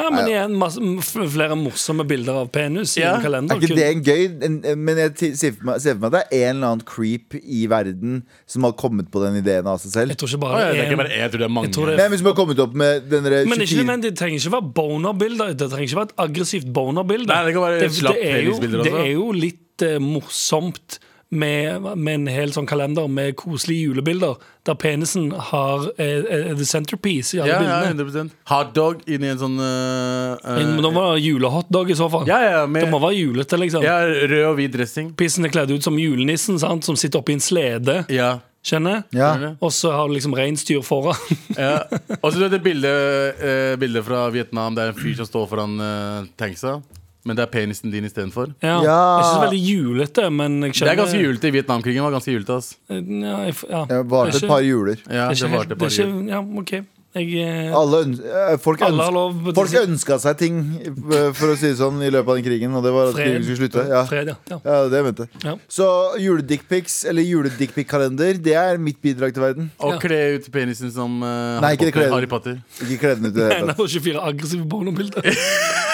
Ja, men igjen, masse, m- f- flere morsomme bilder av penis i
Ja.
en kalender.
Er ikke
Kun-
det en gøy en, en- Men jeg ti- ser for meg ser for meg at det er en eller annen creep i verden som har kommet på den ideen av seg selv.
Jeg tror ikke
Å,
bare
ja, det E er
en-
ikke bare én, jeg tror det er mange.
Jeg tror det-
Nei, men som har kommet opp med den der
Men ikke
24
nødvendig, det trenger ikke være boner-bilder. Det trenger ikke være et aggressivt boner-bilde.
Nei, det kan være slapp
er jo,
penisbilder
det
også.
er jo litt eh, morsomt med, med en hel sånn kalender med koselige julebilder, der penisen har eh, eh, the centerpiece i alle
Ja, ja,
bildene.
100 Hotdog inni en sånn øh, øh,
Men det må være julehotdog i så fall.
Ja, ja, med
Det må være julete, liksom.
ja, rød og hvit dressing.
Pissen er kledd ut som julenissen, sant? som sitter oppi en slede.
Ja.
Skjønner?
Ja.
Og så har du liksom reinsdyr foran.
ja. Og så du vet det bildet, øh, bildet fra Vietnam. Det er en fyr som står foran øh, tanksa, men det er penisen din istedenfor.
ja.
Ja.
Jeg synes det er veldig julete, men jeg
Det
skjønner
er ganske julete. Vietnamkrigen var ganske julete. ass.
Ja, jeg, f- ja.
Jeg varte
Det er
et
ikke-
par
Ja,
juler.
Det
det
er ikke helt
varte
det
bare
er
jul.
ikke, Ja, OK. Jeg, eh,
Alle øns eh, folk
Alle har
ønska,
lov til å
folk
si-
ønska seg ting, eh, for å si det sånn, i løpet av den krigen. Og det var at krigen skulle slutte. Ja.
Fred, ja. ja.
Ja, det er det jeg mente.
Ja.
Så juledickpics, eller juledickpic-kalender, det er mitt bidrag til verden.
Og kle ut penisen som øh,
Nei, ikke det
Harry, Potter,
kle-
Harry Potter.
Ikke kle den ut i det
Nei,
hele
det
tatt.
var 24 aggressive pornobilder.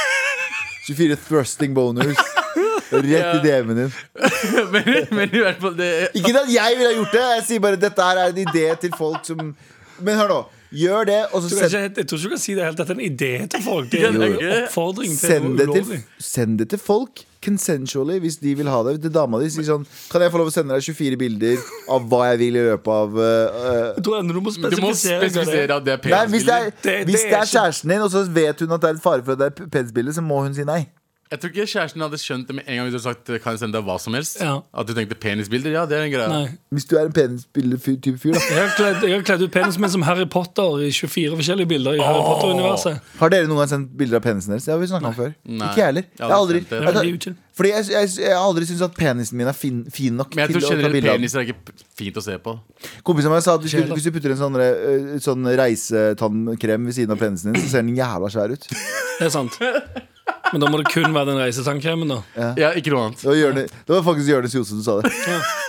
24 thrusting boners. Rett i DM-en din.
men, men i hvert fall det
Ikke at jeg ville ha gjort det, jeg sier bare dette her er en idé til folk som Men hør nå. Gjør det, og
Du
så
kan
send,
ikke, jeg tror ikke du kan si det helt at det er en idé til folk. Det
Ja,
er
det er
en
ikke det.
oppfordring til
send, det
noe
til,
ulovlig.
send det til folk consensually hvis de vil ha det. Til dama di. Si sånn Kan jeg få lov å sende deg 24 bilder av hva jeg vil i løpet av eh, eh,
Jeg tror ennå du må
Du må
spesifisere. hva det er.
spesifisere at det er
Nei, hvis det er,
Det-
penisbilder.
det
hvis det
er
er
ikke-
kjæresten din, og så vet hun at det er en fare for at det er penisbilde, så må hun si nei.
Jeg tror ikke kjæresten hadde skjønt det med en gang hvis du hadde sagt Kan jeg sende deg hva som helst.
Ja.
At du tenkte penisbilder. Ja, det er en greie.
Nei.
Hvis du er en penisbilde-type fyr, da.
Jeg har kledd, jeg har kledd ut penisen min som Harry Potter i 24 forskjellige bilder i Harry Potter-universet.
Har dere noen gang sendt bilder av penisen deres? Det har vi snakket om før.
Nei.
Ikke jeg heller.
Jeg
Jeg
har
har aldri,
aldri sendt det.
Det er veldig
jeg,
utkild.
fordi jeg, jeg, jeg har aldri syntes at penisen min er fin, fin nok.
Men jeg tror
til å ta
generelt
bilde av den.
peniser er ikke p- fint å se på.
Kompisen min sa at hvis du,
Kjell, da.
hvis du putter en sånn, eh, sånn reisetannkrem ved siden av penisen din, så ser den jævla svær ut.
Det er sant. Men da må det kun være den reisetannkremmen, da.
Ja, ikke noe annet.
Det var, Jørne, det var faktisk Jonis Johnsen som sa det.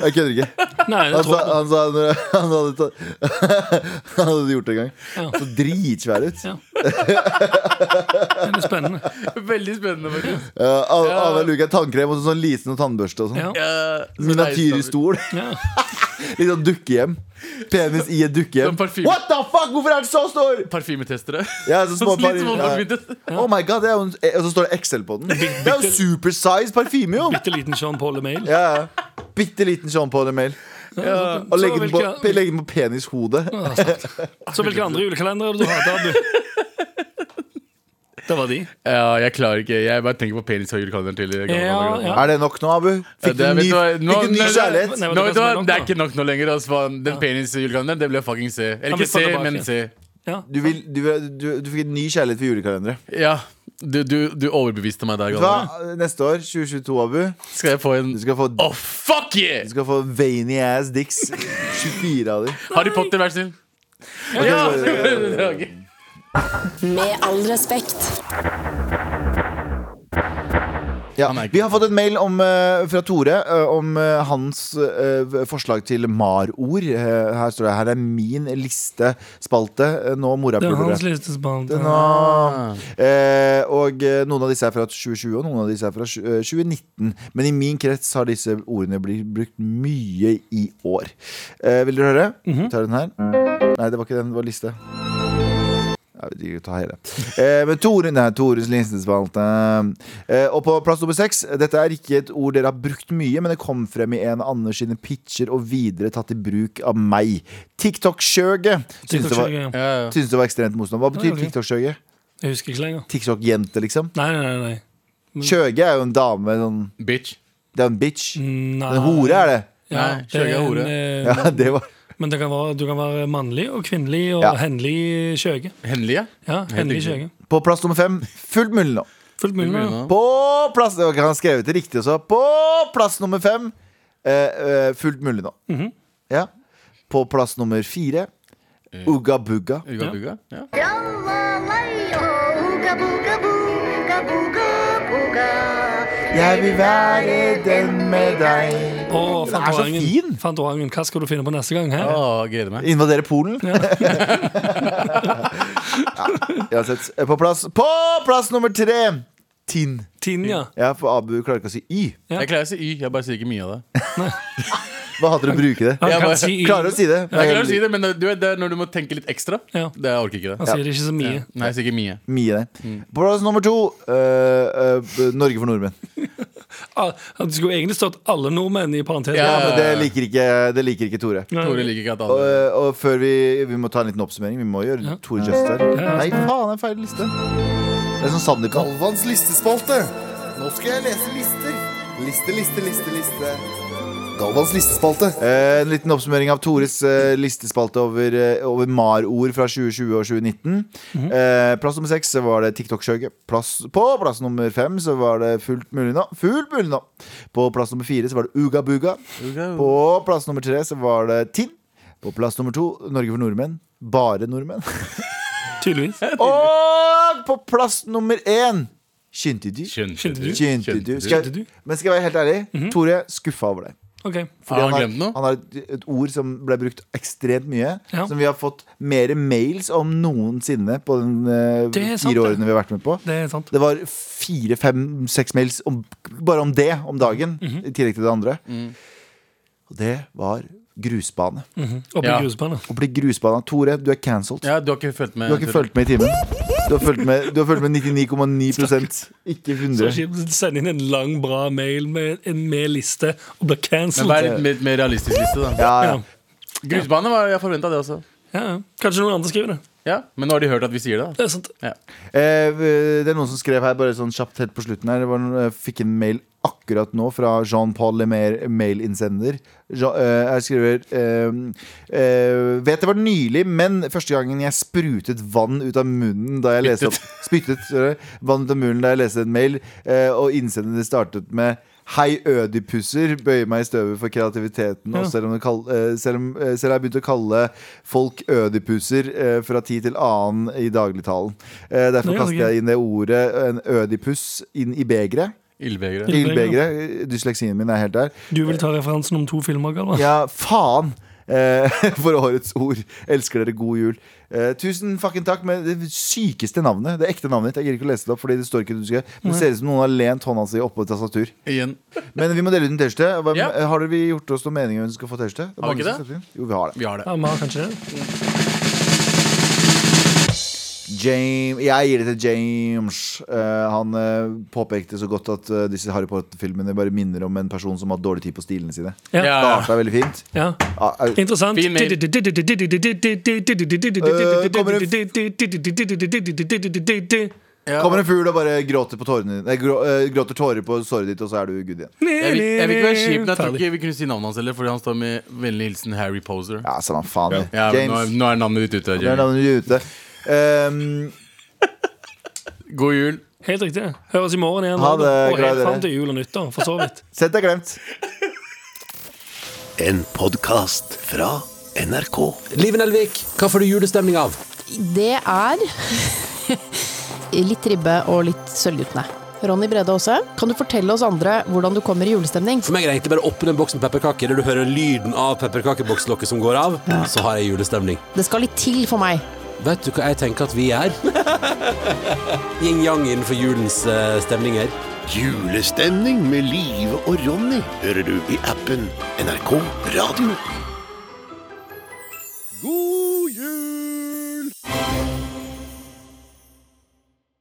Jeg kødder ikke.
Nei, jeg
Han sa,
tror det.
han sa når han hadde, tatt, han hadde gjort det en gang.
Ja.
Så dritsvær ut.
Ja. Det er spennende.
Veldig spennende, faktisk.
Ja, An- Anna luker er tannkrem og sånn lisen og tannbørste og sånn.
Ja.
Ja, så nice, da.
Miniatyrstol.
Ja.
Litt sånn dukkehjem. Penis i et dukkehjem.
Sånn parfyme.
What the fuck, hvorfor er den så stor?!
Parfymetestere.
Ja, så små
Litt
par-
små
ja.
parfymetestere.
Oh my god, det er jo en, Og så står det XL på den. Det er jo supersize parfyme, jo!
Bitte liten Sean Paul Email.
Ja, ja. Bitte liten sånn Sean Paul Email. Og legge den på, pe- legge den på penishodet.
Så hvilke andre julekalendere er det du har Abu? Det var de.
Ja, jeg klarer ikke. Jeg bare tenker på penis og julekalenderen til gamle
Ja,
dager.
ja.
Er det nok nå, Abu? Fikk du
Det er-
en ny,
vet du hva,
fikk du en
nå-
ny
nei,
kjærlighet?
Nei,
Nå,
men det
vet du
er
hva,
nok
det er
nå.
ikke nok nå lenger. Altså, faen. den penis-julekalenderen det vil jeg fucking se. Eller
vi
ikke
får
se,
tilbake.
men se.
Ja.
Du, vil, du, vil- du, du fikk en ny kjærlighet for julekalendere.
Ja, Du, du, du overbeviste meg der,
Vet du hva?
Galvan.
Neste år, 2022, Abu,
Skal jeg få en
du skal få,
Oh, fuck yeah!
du skal få veiny ass dicks. 24 av dem.
Harry Potter, vær så snill. Ja! det var gøy.
Med all respekt.
Ja.
Han er ikke-
Vi har fått en mail om, eh, fra Tore eh, om eh, hans eh, forslag til mar-ord. Eh, her står det her er min listespalte. Uh, nå
Det er hans
morapulere.
listespalte.
Nå. Eh, og eh, noen av disse er fra 2020, og noen av disse er fra tju- eh, 2019. Men i min krets har disse ordene blitt brukt mye i år. Eh, vil dere høre? Tar den her. Nei, det var ikke den. Det var liste. Jeg vet ikke, ta hele. Eh, men Tore, nei, Tores listespalte. Eh, og på plass nummer seks. Dette er ikke et ord dere har brukt mye, men det kom frem i en av Anders sine pitcher og videre tatt i bruk av meg. TikTok-skjøget. Syns det var-
TikTok-skjøget, ja.
Ja, ja.
syns det var ekstremt morsomt. Hva betyr
Ja, ok.
TikTok-skjøget?
Jeg husker ikke lenger.
TikTok-jente, liksom.
Nei, nei, nei. nei.
Kjøge er jo en dame. Sånn,
Bitch.
det er en bitch.
Nei.
En hore er det.
Ja,
Nei,
det er
skjøge er hore.
en, eh,
Ja, det var
Men det kan være, du kan være mannlig og kvinnelig og
Ja.
hendelig skjøge.
Henlige?
Ja, hendelig skjøge.
riktig.
På plass nummer fem. Fullt mulig nå.
Fullt mulig. nå.
På plass Det var ikke han skrevet det riktig også. På plass nummer fem. eh, eh, fullt mulig nå.
Mhm.
Ja. På plass nummer fire. Ugga bugga.
Uga buga? Ja.
Jeg vil være den med deg.
Å,
Den er så fin!
Fantorangen. Fantorangen, hva skal du finne på neste gang? Her?
Å, gleder meg.
Invadere Polen? Ja. Uansett. eh, På plass På plass nummer tre. Tinn.
Tinja.
Ja, for Abu klarer ikke å si Y.
Ja.
Jeg klarer å si Y, jeg bare sier ikke mye av det.
Hva hater du å bruke det?
Han
Jeg
kan
bare-
si i-
Klarer å si det.
Jeg klarer å si det, men du vet, det er når du må tenke litt ekstra.
Ja.
Det jeg orker ikke
Han
det.
sier det ikke så mye.
Nei, jeg sier ikke Altså, mye.
Mye der. På plass nummer to eh, eh, Norge for nordmenn.
Ah, Det skulle egentlig stått alle nordmenn i parentes.
Ja,
Ja.
men det liker ikke, det liker ikke Tore.
Nei.
Tore liker ikke at
Og, eh,
alle
og før vi, vi må ta en liten oppsummering. Vi må gjøre
Ja.
Tore Just her.
Ja.
Nei, faen, det er feil liste. Det er sånn Sandekan.
Galvans listespalte. Nå skal jeg lese lister. Liste, liste, liste, liste. Galvans listespalte.
Eh, En liten oppsummering av Tores eh, listespalte over, eh, over MAR-ord fra 2020 og 2019. eh, plass nummer seks så var det TikTok-skjøget. Plass- På plass nummer fem så var det Fullt mulig nå. Fullt mulig nå. På plass nummer fire så var det Uga Buga. På plass nummer tre så var det Tinn. På plass nummer to Norge for nordmenn. Bare nordmenn.
Tydeligvis.
Og på plass nummer én Kyntedyr.
Skjønte
du?
Kyntedyr. Skal jeg-
Kyntedyr.
Men skal jeg være helt
Mhm.
ærlig, Tore skuffa over deg.
Ok.
Har han
har-
glemt noe?
Han har et, et ord som ble brukt ekstremt mye.
Ja.
Som vi har fått mer mails om noensinne på den eh,
Det er sant,
fire
det.
årene vi har vært med på.
Det er sant.
Det var fire, fem, seks mails om, bare om det om dagen,
Mhm.
i tillegg til det andre.
Mm.
Og det var grusbane.
Oppe i
Ja.
grusbanen.
Å bli grusbana. Tore, du er cancelled.
Ja, du har ikke fulgt med?
Du har ikke
Tore.
fulgt med i timen. Du har fulgt med, du har fulgt med 99,9 Ikke
Så
100
kjipt. Send inn en lang, bra mail med en med liste og blir
Men vær
cancelled.
litt mer, mer realistisk liste, da.
ja, ja.
Ja.
Grusbane var jeg forventa, det også.
Ja, ja. Kanskje noen andre skriver det.
Ja, Men nå har de hørt at vi sier det. da.
Det er sant.
Ja.
Eh, Det er noen som skrev her Bare sånn kjapt helt på slutten her Det var, noen- jeg fikk en mail akkurat nå Fra Jean-Paul Lemaire Mail-innsender Jean, eh, Jeg skriver eh, eh, Vet det var nylig Men første gangen jeg sprutet vann ut av munnen Da jeg leste opp Spyttet sorry, vann ut av munnen da jeg leste en mail eh, Og innsenderen startet med Hei ødipusser, bøyer meg i støvet for kreativiteten Og selv om, det kall, eh, selv, om eh, selv har jeg begynt å kalle folk ødipusser eh, Fra tid til annen i dagligtalen eh, Derfor
Ja,
kaster
ok.
jeg inn det ordet En ødipuss inn i begre
Ildbegeret.
Ildbegeret.
Ildbegre, dysleksien min er helt der
Du vil ta referansen om to filmer, Galvan?
Ja, faen eh, for årets ord. Elsker dere, god jul. Eh, tusen fucking takk med det sykeste navnet. Det ekte navnet ditt. Jeg gir ikke å lese det opp, Fordi det står ikke du skal Men det ser ut som noen har lent hånda si oppå et tastatur.
Igjen.
Men vi må dele ut en T-skjorte. Hva-
Ja.
eh, Har dere vi gjort oss noen meninger om hvem som skal få T-skjorte? Det er
Har vi
mange
ikke
som
det?
har Jo, vi har det.
Vi har det.
Ja, vi har kanskje det.
James, jeg gir det til James. Eh, han eh, påpekte så godt at eh, disse Harry Potter-filmene bare minner om en person som har dårlig tid på stilene sine.
Ja.
Ja, ja.
Starta veldig fint.
Ja.
Ah, au.
Interessant. Eh,
Fin mail.
Eh,
Kommer en fugl og bare gråter, på tårene, nei, grå, eh, gråter tårer på såret ditt, og så er du good igjen.
Jeg vil, jeg vil ikke være kjip, men jeg tror ikke vi kunne si navnet hans heller, fordi han står med vennlig hilsen Harry Poser.
Ja, samme faen. det.
Ja, men nå, er-
James,
nå er navnet ditt ute.
nå er
Jeremy.
navnet ditt ute. Ehm,
God jul.
Helt riktig. Høres i morgen igjen.
Ha det,
og
glad i
helt
dere.
fram til jul og nyttår, for så vidt.
sett deg glemt.
En podkast fra NRK.
Liven Elvik, hva får du julestemning av?
Det er litt ribbe og litt sølvguttene. Ronny Brede Aase, kan du fortelle oss andre hvordan du kommer i julestemning?
For meg er det egentlig bare å åpne en boks med pepperkaker, der du hører lyden av pepperkakebokslokket som går av, så har jeg julestemning.
Det skal litt til for meg.
Vet du hva jeg tenker at vi er? Yin-yang innenfor julens eh, stemninger.
Julestemning med Live og Ronny hører du i appen NRK Radio.